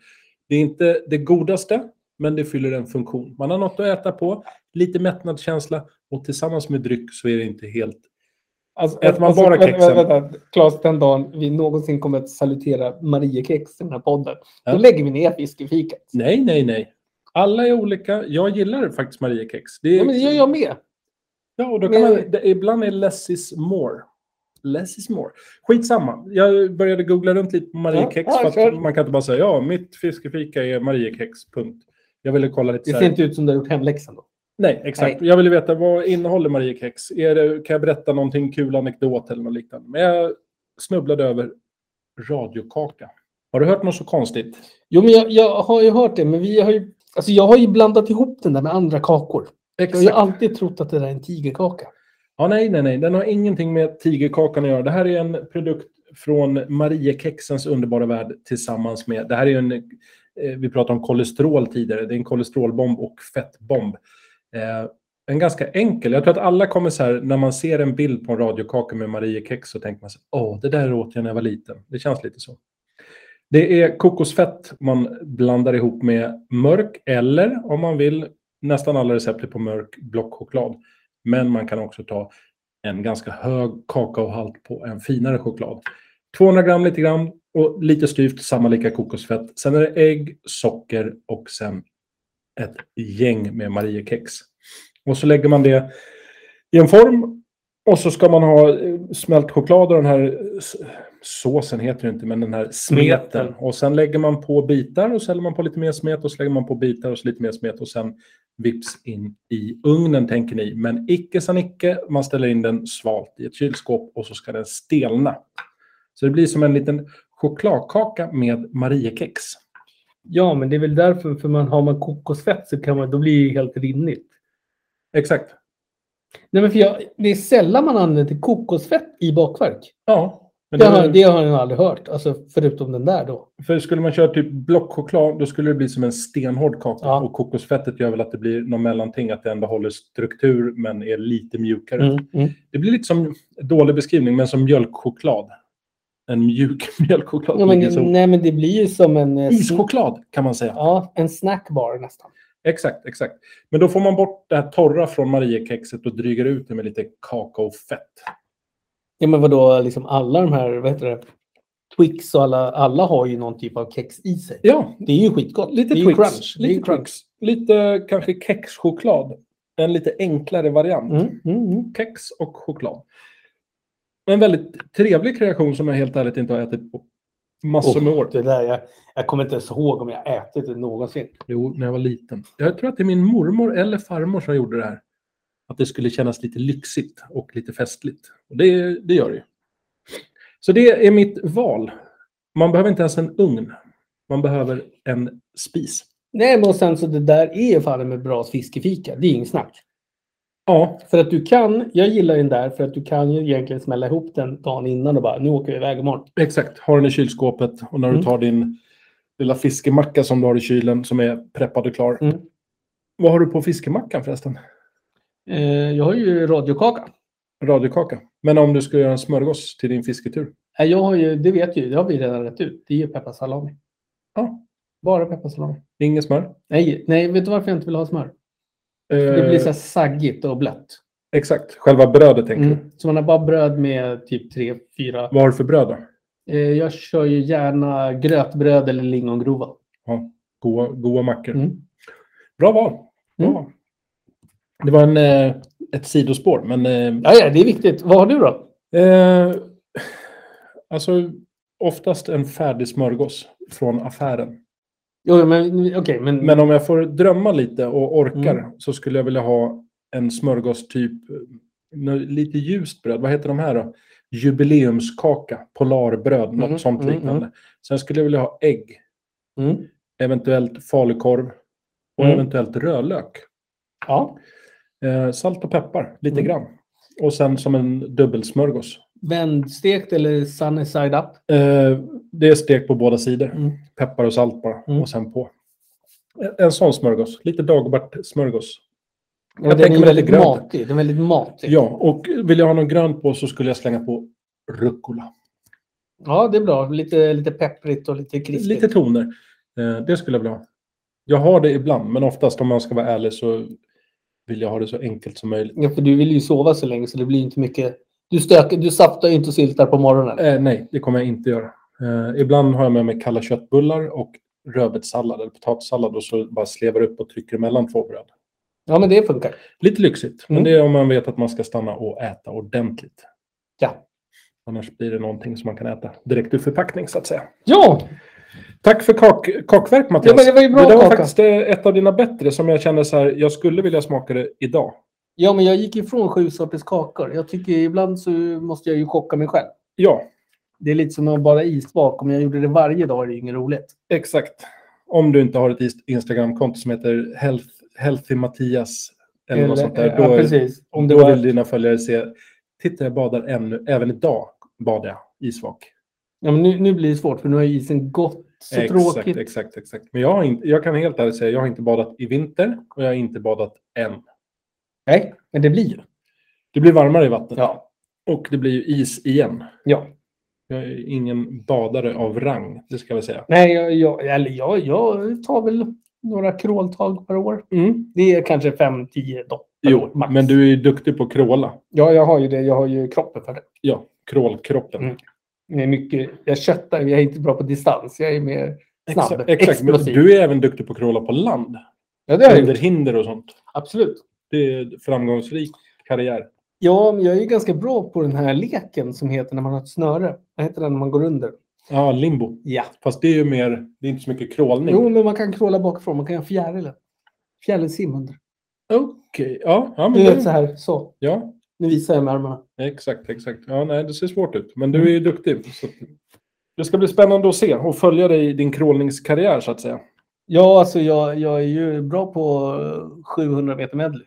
B: Det är inte det godaste, men det fyller en funktion. Man har något att äta på, lite mättnadskänsla och tillsammans med dryck så är det inte helt...
C: Alltså,
B: Äter man bara
C: vänta,
B: kexen?
C: Vänta, vänta. Claes, den dagen vi någonsin kommer att salutera Mariekex i den här podden,
B: Ja.
C: då lägger vi ner fiskefikat.
B: Nej, nej, nej. Alla är olika. Jag gillar faktiskt Mariekex. Det är...
C: Ja, men det gör jag med.
B: Ja, och då kan
C: Men-
B: man, det, ibland är less is more. Less is more. Skitsamma. Jag började googla runt lite på Mariekex.
C: Ja, ja,
B: för
C: kör.
B: att man kan inte bara säga ja, mitt fiskefika är Mariekex. Punkt. Jag ville kolla lite
C: Det
B: så
C: ser
B: här.
C: inte ut som du har gjort hemläxan då.
B: Nej, exakt. Jag ville veta vad innehåller Mariekex? Är det, kan jag berätta någonting kul, anekdot eller något liknande? Men jag snubblade över radiokaka. Har du hört något så konstigt?
C: Jo, men jag, jag har ju hört det, men vi har ju... Alltså jag har ju blandat ihop den där med andra kakor. Jag har ju alltid trott att det där är en tigerkaka.
B: Ja, nej, nej, nej. Den har ingenting med tigerkakan att göra. Det här är en produkt från Mariekexens underbara värld tillsammans med... Det här är ju en... eh, Vi pratade om kolesterol tidigare. Det är en kolesterolbomb och fettbomb. Eh, en ganska enkel. Jag tror att alla kommer så här, när man ser en bild på en radiokaka med Mariekex så tänker man så här, åh, det där åt jag när jag var liten. Det känns lite så. Det är kokosfett man blandar ihop med mörk eller om man vill, nästan alla recept är på mörk blockchoklad. Men man kan också ta en ganska hög kakaohalt på en finare choklad. 200 gram lite grann och lite styvt, samma lika kokosfett. Sen är det ägg, socker och sen ett gäng med Mariekex. Och så lägger man det i en form och så ska man ha eh, smält choklad och den här eh, s- såsen heter det inte, men den här smeten.
C: Smeten.
B: Och sen lägger man på bitar och så häller man på lite mer smet och så lägger man på bitar och så lite mer smet och sen vips in i ugnen tänker ni. Men icke san icke, man ställer in den svalt i ett kylskåp och så ska den stelna. Så det blir som en liten chokladkaka med Mariekex.
C: Ja, men det är väl därför. För man, har man kokosfett så kan man, då blir det ju helt rinnigt.
B: Exakt.
C: Nej, men för jag, det är sällan man använder kokosfett i bakverk.
B: Ja. Men
C: det,
B: det-
C: har, det har jag aldrig hört. Alltså, förutom den där då.
B: För skulle man köra typ blockchoklad, då skulle det bli som en stenhård kaka.
C: Ja.
B: Och kokosfettet gör väl att det blir någon mellanting, att det ändå håller struktur men är lite mjukare.
C: Mm.
B: Det blir lite som, dålig beskrivning, men som mjölkchoklad. En mjuk mjölkchoklad.
C: Ja,
B: ligger så-
C: men, nej, men det blir ju som en... eh, sn-
B: Ischoklad kan man säga.
C: Ja, en snackbar nästan.
B: Exakt, exakt. Men då får man bort det här torra från Mariekexet och dryger ut det med lite kakaofett.
C: Ja, men vadå, liksom alla de här, vad heter det? Twix och alla, alla har ju någon typ av kex i sig.
B: Ja,
C: Det är ju skitgott.
B: lite
C: det är ju
B: Twix.
C: crunch. det är ju
B: Lite,
C: crunch.
B: Twix. lite kanske kexchoklad. En lite enklare variant.
C: Mm, mm, mm.
B: Kex och choklad. En väldigt trevlig kreation som jag helt ärligt inte har ätit på massor med år.
C: Det där, jag, jag kommer inte ens ihåg om jag ätit det någonsin.
B: Jo, när jag var liten. Jag tror att det är min mormor eller farmor som gjorde det här. Att det skulle kännas lite lyxigt och lite festligt. Och det, det gör det ju. Så det är mitt val. Man behöver inte ens en ugn. Man behöver en spis.
C: Nej, men och sen så det där är ju fan med bra fiskefika. Det är inget snack.
B: Ja,
C: För att du kan, jag gillar ju den där för att du kan ju egentligen smälla ihop den dagen innan och bara nu åker vi iväg imorgon.
B: exakt. Har den i kylskåpet och när
C: Mm.
B: du tar din lilla fiskemacka som du har i kylen som är preppad och klar.
C: Mm.
B: Vad har du på fiskemackan förresten?
C: Eh, jag har ju radiokaka.
B: Radiokaka. Men om du ska göra en smörgås till din fisketur?
C: Nej, jag har ju, det vet ju, det har vi redan rätt ut. Det är ju pepparsalami.
B: Ja.
C: Bara pepparsalami.
B: Inget smör?
C: Nej, nej, vet du varför jag inte vill ha smör?
B: Eh,
C: Det blir så här saggigt och blött.
B: Exakt. Själva brödet tänker du?
C: Mm. Så man har bara bröd med typ tre, fyra.
B: Vad har du för bröd då?
C: Eh, jag kör ju gärna grötbröd eller lingongrova.
B: Goa, goa mackor.
C: Mm.
B: Bra val. Bra
C: Mm.
B: val. Det var en, eh, ett sidospår, men... eh,
C: Ja, ja, det är viktigt. Vad har du då?
B: Eh, alltså, oftast en färdig smörgås från affären.
C: Jo, men okej, men,
B: Men om jag får drömma lite och orkar
C: Mm.
B: så skulle jag vilja ha en smörgås typ eh, nå- lite ljust bröd. Vad heter de här då? Jubileumskaka, polarbröd, något
C: Mm,
B: sånt
C: mm,
B: liknande. Sen skulle jag vilja ha ägg,
C: Mm.
B: eventuellt falukorv och
C: Mm.
B: eventuellt rödlök.
C: Ja.
B: Eh, salt och peppar, lite
C: Mm.
B: grann. Och sen som en dubbelsmörgås.
C: Vändstekt eller sunny side up?
B: Eh, det är stek på båda sidor.
C: Mm.
B: Peppar och salt bara.
C: Mm.
B: Och sen på. En, en sån smörgås. Lite Dagbert-smörgås.
C: Ja,
B: Jag
C: den
B: tänker
C: är
B: mig
C: väldigt
B: lite gröt.
C: matig. Den är väldigt matig.
B: Ja, och vill jag ha någon grönt på så skulle jag slänga på rucola.
C: Ja, det är bra. Lite, lite pepprigt och lite krispigt.
B: Lite toner. Eh, det skulle jag vilja ha. Jag har det ibland, men oftast om man ska vara ärlig så vill jag ha det så enkelt som möjligt.
C: Ja, för du vill ju sova så länge så det blir inte mycket. Du, stöker, du saftar ju inte och syltar på morgonen.
B: Eh, nej, det kommer jag inte göra. Eh, ibland har jag med mig kalla köttbullar och rödbetssallad eller potatissallad och så bara slevar upp och trycker emellan två bröd.
C: Ja, men det funkar.
B: Lite lyxigt, men
C: Mm.
B: det är om man vet att man ska stanna och äta ordentligt.
C: Ja.
B: Annars blir det någonting som man kan äta direkt ur förpackning så att säga.
C: Ja,
B: Tack för kak kakverk Mattias.
C: Ja, men det var ju bra
B: det där var
C: kaka.
B: faktiskt eh, ett av dina bättre som jag kände så här, jag skulle vilja smaka det idag.
C: ja men jag gick ifrån sju sorters kakor. Jag tycker ibland så måste jag ju chocka mig själv.
B: Ja,
C: Det är lite som att bara isbak. Om jag gjorde det varje dag är det ju inget roligt.
B: exakt. Om du inte har ett is- Instagramkonto som heter health, Healthy Mattias eller, något sånt där. Då,
C: ja,
B: är-
C: precis. Om det
B: då
C: var,
B: vill dina följare se, titta jag badar ännu, även idag badar jag isvak.
C: ja, men nu, nu blir det svårt för nu har ju isen gått. Så
B: exakt,
C: tråkigt.
B: Exakt, exakt. Men jag, har inte, jag kan helt ärligt säga, jag har inte badat i vinter och jag har inte badat än.
C: Nej, men det blir ju.
B: Det blir varmare i vattnet
C: Ja.
B: och det blir ju is igen.
C: ja.
B: Jag är ingen badare av rang, det ska jag väl säga.
C: Nej, jag, jag, eller jag, jag tar väl några kråltag per år.
B: Mm.
C: Det är kanske 5-10 dopp per år,
B: Jo,
C: max.
B: men du är ju duktig på att kråla.
C: Ja, jag har ju det. Jag har ju kroppen för det.
B: Ja, krålkroppen.
C: Mm. Jag, är mycket, jag köttar, jag är inte bra på distans. Jag är mer snabb,
B: Exakt, exakt. Men
C: explosiv.
B: du är även duktig på att kråla på land.
C: Ja, det har jag
B: Under
C: gjort.
B: hinder och sånt.
C: Absolut.
B: Det är framgångsrik karriär.
C: Ja, men jag är ju ganska bra på den här leken som heter när man har ett snöre. Vad heter den när man går under?
B: Ja, limbo.
C: Ja.
B: Fast det är ju mer, det är inte så mycket krålning.
C: Jo, men man kan kråla bakifrån. Man kan göra fjärilen. Fjärilsim under.
B: Okej, ja. ja, men
C: Du vet
B: det,
C: så här, så.
B: ja.
C: Nu visar jag med armarna.
B: Exakt, exakt. Ja, nej, det ser svårt ut. Men
C: Mm.
B: du är ju duktig. Så att- det ska bli spännande att se och följa dig i din crawlingskarriär så att säga.
C: Ja, alltså jag, jag är ju bra på eh, 700 meter medley.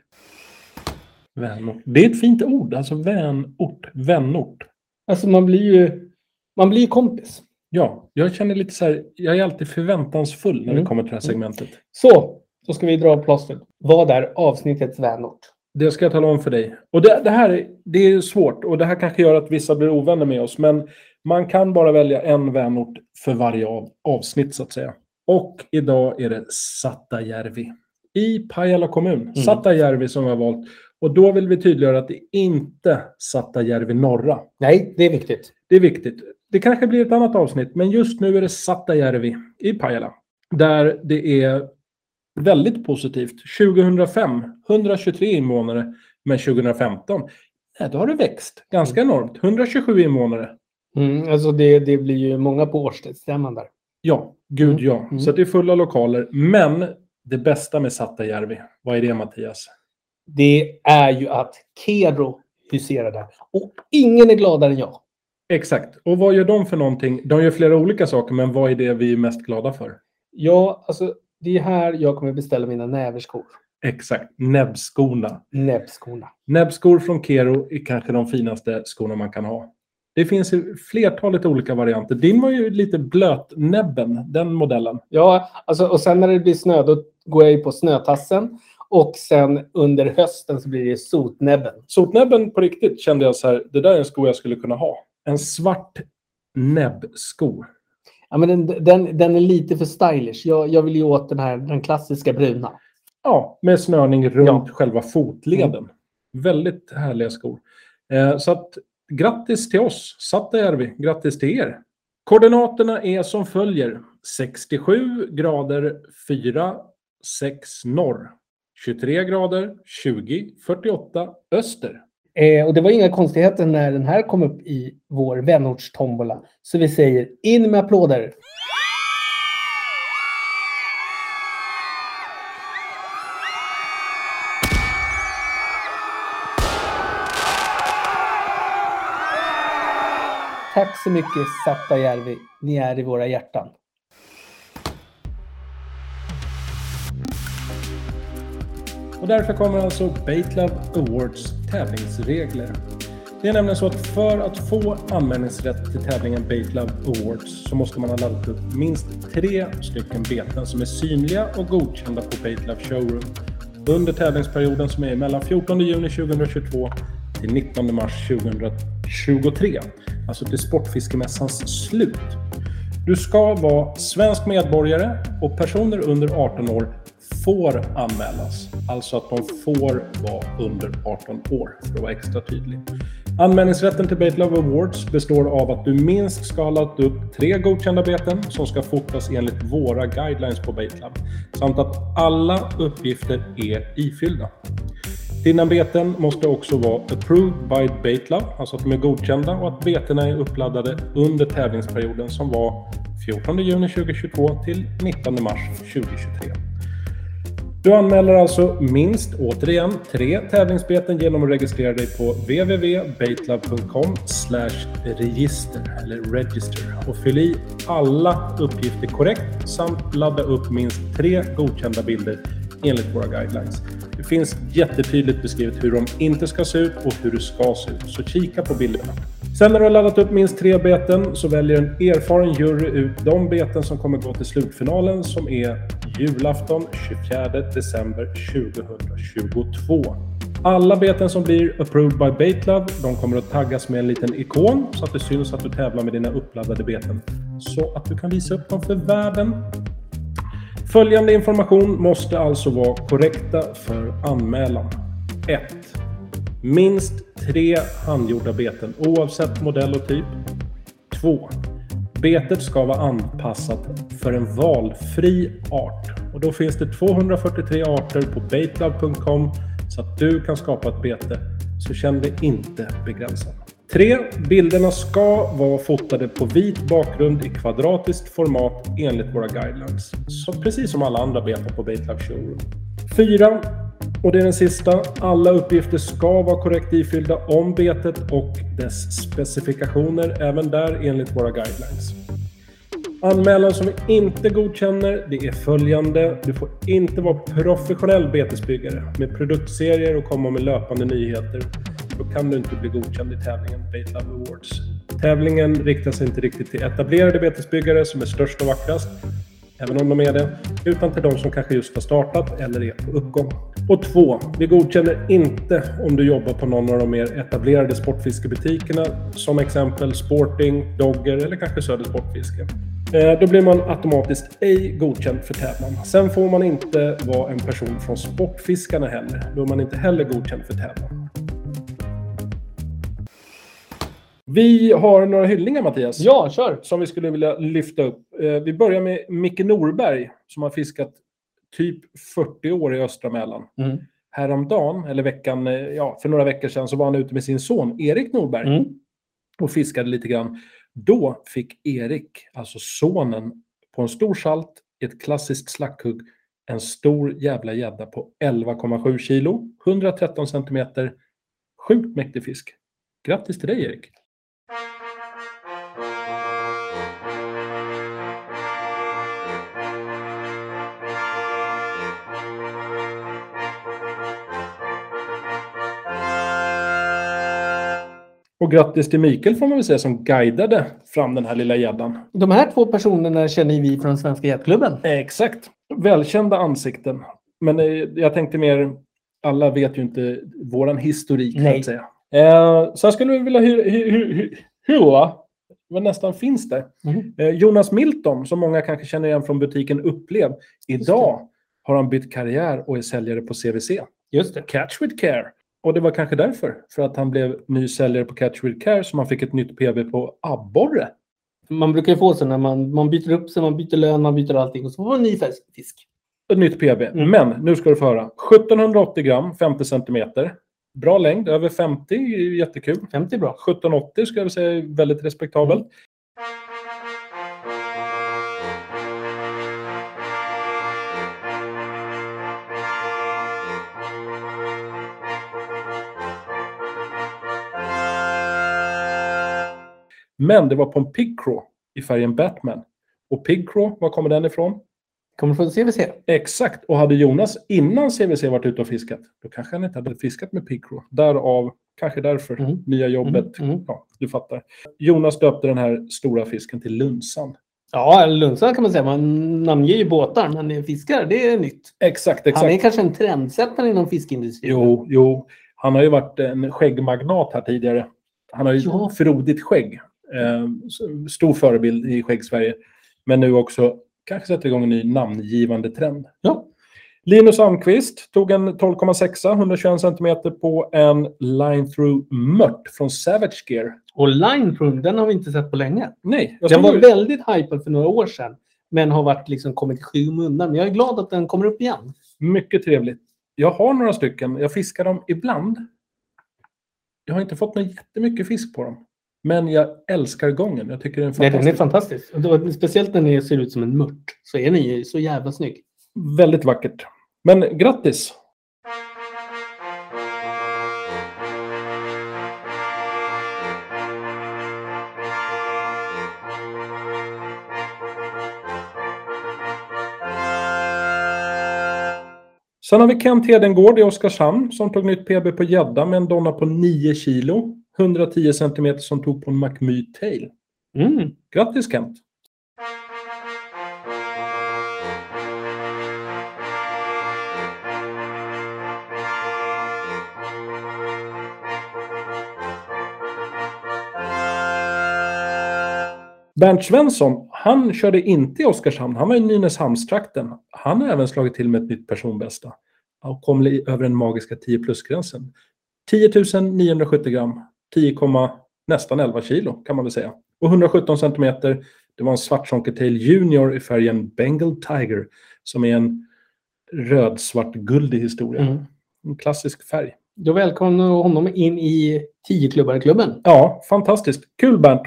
B: Vänort. Det är ett fint ord, alltså vänort, vänort.
C: Alltså man blir ju, man blir ju kompis.
B: Ja, jag känner lite så här, jag är alltid förväntansfull när
C: Mm.
B: det kommer till det här segmentet.
C: Så, då ska vi dra plåstret. Vad är avsnittets vänort?
B: Det ska jag tala om för dig. Och det, det här är- det är svårt och det här kanske gör att vissa blir ovänner med oss. Men man kan bara välja en vänort för varje av, avsnitt så att säga. Och idag är det Sattajärvi i Pajala kommun.
C: Mm.
B: Sattajärvi som vi har valt. Och då vill vi tydliggöra att det är inte Sattajärvi norra.
C: Nej, det är viktigt.
B: Det är viktigt. Det kanske blir ett annat avsnitt, men just nu är det Sattajärvi i Pajala. Där det är väldigt positivt. 2005, 123 invånare. Men 2015, nej, då har det växt ganska enormt. 127 invånare.
C: Mm, alltså det, det blir ju många på årsstämman där.
B: Ja, gud
C: Mm.
B: ja.
C: Mm.
B: Så att det är fulla lokaler. Men det bästa med Sattajärvi, vad är det Mattias?
C: Det är ju att Kero huserar där. Och ingen är gladare än jag.
B: Exakt. Och vad gör de för någonting? De gör flera olika saker, men vad är det vi är mest glada för?
C: Ja, alltså det är här jag kommer beställa mina näverskor.
B: Exakt. Näbbskorna.
C: Näbbskorna.
B: Näbbskor från Kero är kanske de finaste skorna man kan ha. Det finns ju flertalet olika varianter. Din var ju lite blötnäbben, den modellen.
C: Ja, alltså, och sen när det blir snö då går jag ju på snötassen. Och sen under hösten så blir det sotnäbben.
B: Sotnäbben på riktigt kände jag så här, det där är en sko jag skulle kunna ha. En svart näbbsko.
C: Ja, men den, den, den är lite för stylish. Jag, jag vill ju åt den här den klassiska bruna.
B: Ja, med snörning runt
C: Ja.
B: själva fotleden. Väldigt härliga skor. Eh, så att, grattis till oss, Satajärvi. Grattis till er. Koordinaterna är som följer. 67 grader 4, 6 norr. 23 grader 20, 48 öster.
C: Eh, och det var inga konstigheter när den här kom upp i vår vänortstombola. Så vi säger in med applåder. Tack så mycket Sattajärvi. Ni är i våra hjärtan.
B: Och därför kommer alltså Baitlab Awards tävlingsregler. Det är nämligen så att för att få anmälningsrätt till tävlingen Baitlab Awards så måste man ha laddat upp minst tre stycken beten som är synliga och godkända på Baitlab Showroom under tävlingsperioden som är mellan 14 juni 2022 till 19 mars 2023. Alltså till Sportfiskemässans slut. Du ska vara svensk medborgare och personer under 18 år får anmälas. Alltså att de får vara under 18 år, för att vara extra tydlig. Anmälningsrätten till Bait Love Awards består av att du minst ska ha lagt upp tre godkända beten som ska fotas enligt våra guidelines på Baitlab samt att alla uppgifter är ifyllda. Dina beten måste också vara approved by Baitlab, alltså att de är godkända och att betena är uppladdade under tävlingsperioden som var 14 juni 2022 till 19 mars 2023. Du anmäler alltså minst, återigen, tre tävlingsbeten genom att registrera dig på www.baitlab.com register eller register och fyll i alla uppgifter korrekt samt ladda upp minst tre godkända bilder enligt våra guidelines. Det finns jättetydligt beskrivet hur de inte ska se ut och hur det ska se ut, så kika på bilderna. Sen när du har laddat upp minst tre beten så väljer en erfaren jury ut de beten som kommer gå till slutfinalen som är julafton 24 december 2022. Alla beten som blir approved by Baitlove, de kommer att taggas med en liten ikon så att det syns att du tävlar med dina uppladdade beten. Så att du kan visa upp dem för världen Följande information måste alltså vara korrekta för anmälan. 1. Minst tre handgjorda beten oavsett modell och typ. 2. Betet ska vara anpassat för en valfri art. Och då finns det 243 arter på baitlove.com så att du kan skapa ett bete. Så känn dig inte begränsad. 3. Bilderna ska vara fotade på vit bakgrund i kvadratiskt format enligt våra guidelines. Så precis som alla andra beten på Baitlove Showroom. 4. Och det är den sista. Alla uppgifter ska vara korrekt ifyllda om betet och dess specifikationer, även där enligt våra guidelines. Anmälan som vi inte godkänner, det är följande. Du får inte vara professionell betesbyggare med produktserier och komma med löpande nyheter. Då kan du inte bli godkänd i tävlingen Bait Love Awards. Tävlingen riktar sig inte riktigt till etablerade betesbyggare som är störst och vackrast även om de är det, utan till de som kanske just har startat eller är på uppgång. Och två, vi godkänner inte om du jobbar på någon av de mer etablerade sportfiskebutikerna, som exempel Sporting, Dogger eller kanske Söder Sportfiske. Eh, Då blir man automatiskt ej godkänd för tävlan. Sen får man inte vara en person från Sportfiskarna heller. Då är man inte heller godkänd för tävlan. Vi har några hyllningar Mattias
C: Ja, kör!
B: som vi skulle vilja lyfta upp. Eh, Vi börjar med Micke Norberg som har fiskat typ 40 år i östra Mälaren.
C: Mm.
B: Häromdagen, eller veckan, eh, ja, för några veckor sedan, så var han ute med sin son Erik Norberg
C: Mm.
B: och fiskade lite grann. Då fick Erik, alltså sonen, på en stor salt i ett klassiskt slackhugg en stor jävla gädda på 11,7 kilo, 113 centimeter. Sjukt mäktig fisk. Grattis till dig Erik! Och grattis till Mikael får man väl säga som guidade fram den här lilla gäddan.
C: De här två personerna känner vi från Svenska Jätklubben.
B: Eh, Exakt. Välkända ansikten. Men eh, jag tänkte mer, alla vet ju inte våran historik. Så
C: Nej.
B: att säga. Eh, sen skulle vi vilja hy- hy- hy- hy- hylla, men nästan finns det.
C: Mhm.
B: Eh, Jonas Milton, som många kanske känner igen från butiken Upplev. Idag har han bytt karriär och är säljare på CVC.
C: Just det.
B: Catch with Care. Och det var kanske därför. För att han blev ny säljare på Catch with Care som han fick ett nytt PB på abborre.
C: Man brukar ju få så när man, man byter upp sig, man byter lön, man byter allting och så får man en ny färsk fisk.
B: ett nytt PB.
C: Mm.
B: Men nu ska du få höra. 1780 gram, 50 centimeter. Bra längd, över 50, är ju jättekul.
C: 50 är bra.
B: 1780 skulle jag säga är väldigt respektabelt. Men det var på en Pig Crow i färgen Batman. Och Pig Crow, var kommer den ifrån?
C: Kommer från CVC.
B: Exakt. Och hade Jonas innan CVC varit ute och fiskat, då kanske han inte hade fiskat med Pigcrow. Därav, kanske därför,
C: Mm.
B: nya jobbet.
C: Mm, mm.
B: Ja, du fattar. Jonas döpte den här stora fisken till Lunsan.
C: Ja, eller Lundsvall kan man säga. Man namnger ju båtar, men fiskar, det är nytt.
B: Exakt, exakt.
C: Han är kanske en trendsättare inom fiskindustrin.
B: Jo, jo. Han har ju varit en skäggmagnat här tidigare. Han har ju
C: Ja.
B: frodigt skägg. Eh, s- stor förebild i skäggsverige. Men nu också kanske sätter igång en ny namngivande trend.
C: Ja.
B: Linus Almqvist tog en 12,6 121 cm på en line through mört från Savage Gear.
C: Och Line Room, den har vi inte sett på länge.
B: Nej, jag
C: Den
B: ska
C: var
B: ju-
C: väldigt hypad för några år sedan. Men har varit liksom kommit i skymundan. Men jag är glad att den kommer upp igen.
B: mycket trevligt. Jag har några stycken. Jag fiskar dem ibland. Jag har inte fått någon jättemycket fisk på dem. Men jag älskar gången. Jag tycker det är en
C: Nej, den är
B: fantastisk
C: fantastisk. Och då- Speciellt när den ser ut som en mört. Så är den ju så jävla snygg.
B: Väldigt vackert. Men grattis! Sen har vi Kent Hedengård i Oskarshamn som tog nytt PB på gädda med en donna på 9 kilo. 110 cm som tog på en McMy Tail.
C: Mm.
B: Grattis Kent! Bernt Svensson, han körde inte i Oskarshamn. Han var i Nynäshamnstrakten. Han har även slagit till med ett nytt personbästa och kom li- över den magiska 10 plus-gränsen. 10 970 gram, 10, komma- nästan 11 kilo kan man väl säga. Och 117 centimeter. Det var en svartsonketail junior i färgen Bengal Tiger som är en röd-svart-guldig historia.
C: Mm.
B: En klassisk färg.
C: Då välkomnar jag honom in i 10-klubbarklubben.
B: Ja, fantastiskt. Kul Bernt!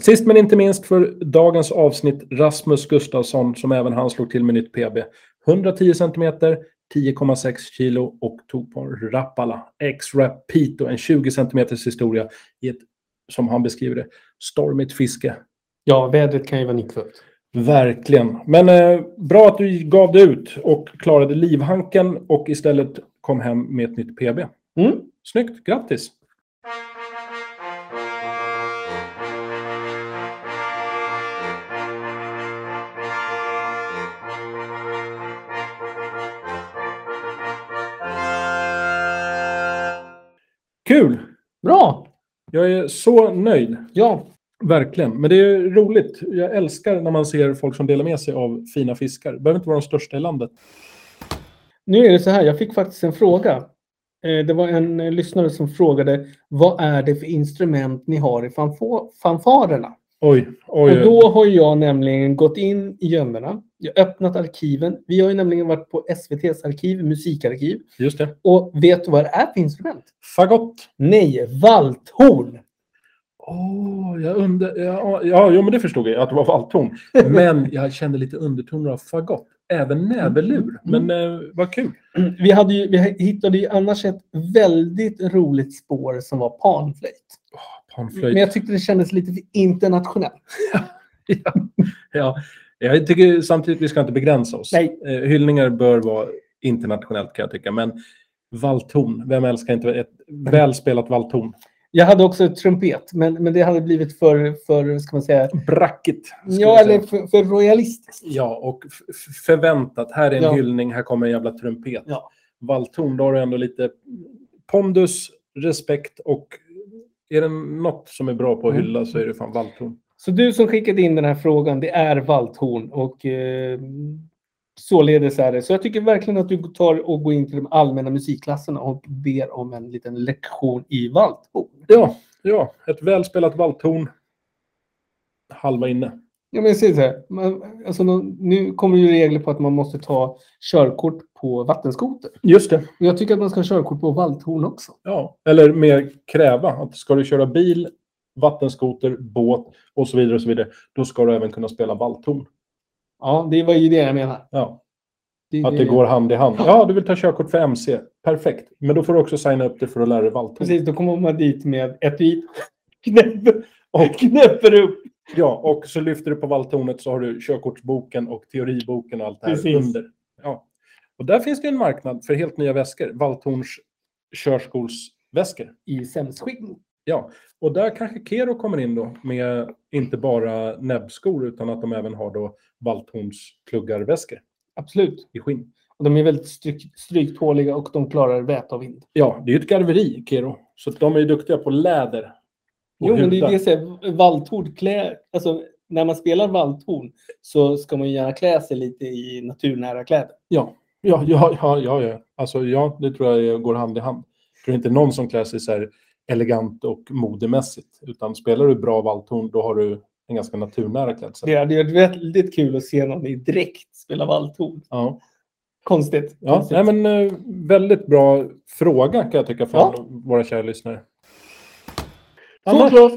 B: Sist men inte minst för dagens avsnitt Rasmus Gustafsson som även han slog till med nytt PB. 110 cm, 10,6 kilo och tog på en Rapala X-Rapito, en 20 cm historia i ett, som han beskriver det, stormigt fiske.
C: Ja, vädret kan ju vara nyckfullt.
B: Verkligen. Men eh, bra att du gav dig ut och klarade livhanken och istället kom hem med ett nytt PB.
C: Mm.
B: Snyggt, grattis! Kul!
C: Bra!
B: Jag är så nöjd.
C: Ja,
B: Verkligen. Men det är ju roligt. Jag älskar när man ser folk som delar med sig av fina fiskar. Det behöver inte vara de största i landet.
C: Nu är det så här, jag fick faktiskt en fråga. Eh, Det var en eh, lyssnare som frågade vad är det för instrument ni har i fanfo- fanfarerna?
B: Oj, oj,
C: Och
B: oj.
C: då har jag nämligen gått in i gömmorna. Jag har öppnat arkiven. Vi har ju nämligen varit på SVTs arkiv, musikarkiv.
B: Just det.
C: Och vet du vad det är för instrument?
B: Fagott.
C: Nej, valthorn.
B: Åh, jag undrar... Ja, ja, jo, men det förstod jag, att det var valthorn. Men jag kände lite undertoner av fagott. Även näverlur.
C: Mm.
B: Men eh, vad kul.
C: Vi, hade ju, vi hittade ju annars ett väldigt roligt spår som var panflöjt. Men
B: Panflöjt.
C: jag tyckte det kändes lite för internationellt.
B: Ja. Jag tycker samtidigt vi ska inte begränsa oss.
C: Nej.
B: Eh, hyllningar bör vara internationellt kan jag tycka. Men valthorn, vem älskar inte ett välspelat valthorn?
C: Jag hade också trumpet, men, men det hade blivit för, för ska man säga,
B: Bracket. skulle
C: ja,
B: jag säga.
C: eller för, för royalistiskt.
B: Ja, och f- f- förväntat. Här är en
C: Ja.
B: hyllning, här kommer en jävla trumpet.
C: Ja.
B: Valthorn, då har du ändå lite pondus, respekt och är det något som är bra på att
C: Mm.
B: hylla så är det fan valthorn.
C: Så du som skickade in den här frågan, det är valthorn och eh, således är det. Så jag tycker verkligen att du tar och går in till de allmänna musikklasserna och ber om en liten lektion i valthorn.
B: Ja, ja, ett välspelat valthorn. Halva inne.
C: Ja, men jag säger så här, man, alltså, nå- nu kommer det ju regler på att man måste ta körkort på vattenskoter.
B: Just det.
C: Och jag tycker att man ska ha körkort på valthorn också.
B: Ja, eller mer kräva att ska du köra bil, vattenskoter, båt och så vidare och så vidare, då ska du även kunna spela valthorn.
C: Ja, det var ju det jag menar.
B: Ja.
C: Det,
B: Att det går hand i hand. Ja, du vill ta körkort för MC. Perfekt. Men då får du också signa upp dig för att lära dig valthorn.
C: Precis, då kommer man dit med etui, knäpper, och knäpper upp.
B: Ja, och så lyfter du på valthornet så har du körkortsboken och teoriboken och allt det här
C: Precis.
B: under. Ja. Och där finns det ju en marknad för helt nya väskor. Valthorns körskolsväskor.
C: I sämst skick.
B: Och där kanske Kero kommer in då med inte bara näbbskor utan att de även har då Valthorns pluggarväskor
C: Absolut.
B: i skinn.
C: Och de är väldigt stryk, stryktåliga och de klarar väta och vind.
B: Ja, det är ju ett garveri, Kero. Så att de är ju duktiga på läder. och
C: Jo, men det är
B: hudar.
C: det jag säger. Valthorn klä... Alltså, när man spelar valthorn så ska man ju gärna klä sig lite i naturnära kläder.
B: Ja, ja, ja, ja, ja. Alltså, ja, det tror jag är- går hand i hand. Jag tror inte någon som klär sig så här elegant och modemässigt. Utan spelar du bra valthorn, då har du en ganska naturnära klädsel.
C: Det hade ju varit väldigt kul att se någon i dräkt spela valthorn.
B: Ja,
C: Konstigt.
B: ja.
C: Konstigt.
B: Nej, men, eh, väldigt bra fråga kan jag tycka från
C: Ja.
B: våra kära lyssnare.
C: Så
B: Annars
C: bra.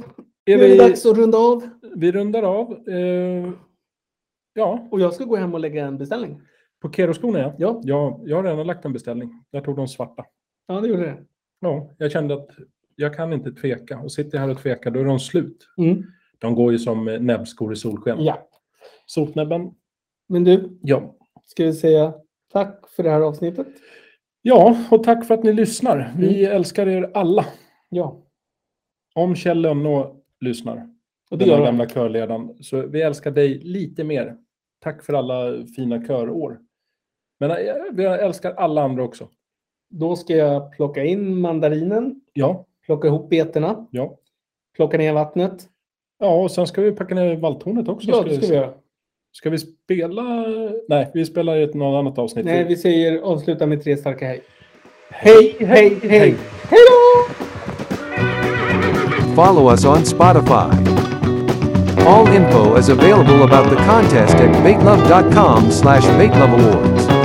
C: Nu
B: är
C: är det
B: vi,
C: dags att runda av.
B: vi rundar av. Eh, ja,
C: Och jag ska gå hem och lägga en beställning.
B: på Keroskorna ja.
C: Ja,
B: ja. Jag har redan lagt en beställning. Jag tog de svarta.
C: ja det gjorde det.
B: Ja, jag kände att jag kan inte tveka. Och sitter jag här och tvekar, då är de slut.
C: Mm.
B: De går ju som eh, näbbskor i solsken.
C: Ja.
B: Sotnäbben?
C: Men du,
B: Ja.
C: ska vi säga tack för det här avsnittet?
B: Ja, och tack för att ni lyssnar. Vi älskar er alla.
C: Ja,
B: Mm. Om Kjell Lönnå lyssnar,
C: och det
B: den här
C: gör han.
B: gamla körledaren, så vi älskar dig lite mer. Tack för alla fina körår. Men eh, vi älskar alla andra också.
C: Då ska jag plocka in mandarinen,
B: Ja,
C: plocka ihop betorna,
B: ja.
C: plocka ner vattnet.
B: Ja, och sen ska vi packa ner valthornet också.
C: Ja, det ska vi göra.
B: Ska vi spela? Nej, vi spelar i ett något annat avsnitt.
C: Nej, vi säger avsluta med tre starka hej. Hej, hej, hej! Hej då!
A: Follow us on Spotify. All info is available about the contest at baitlove.com slash baitloveawards.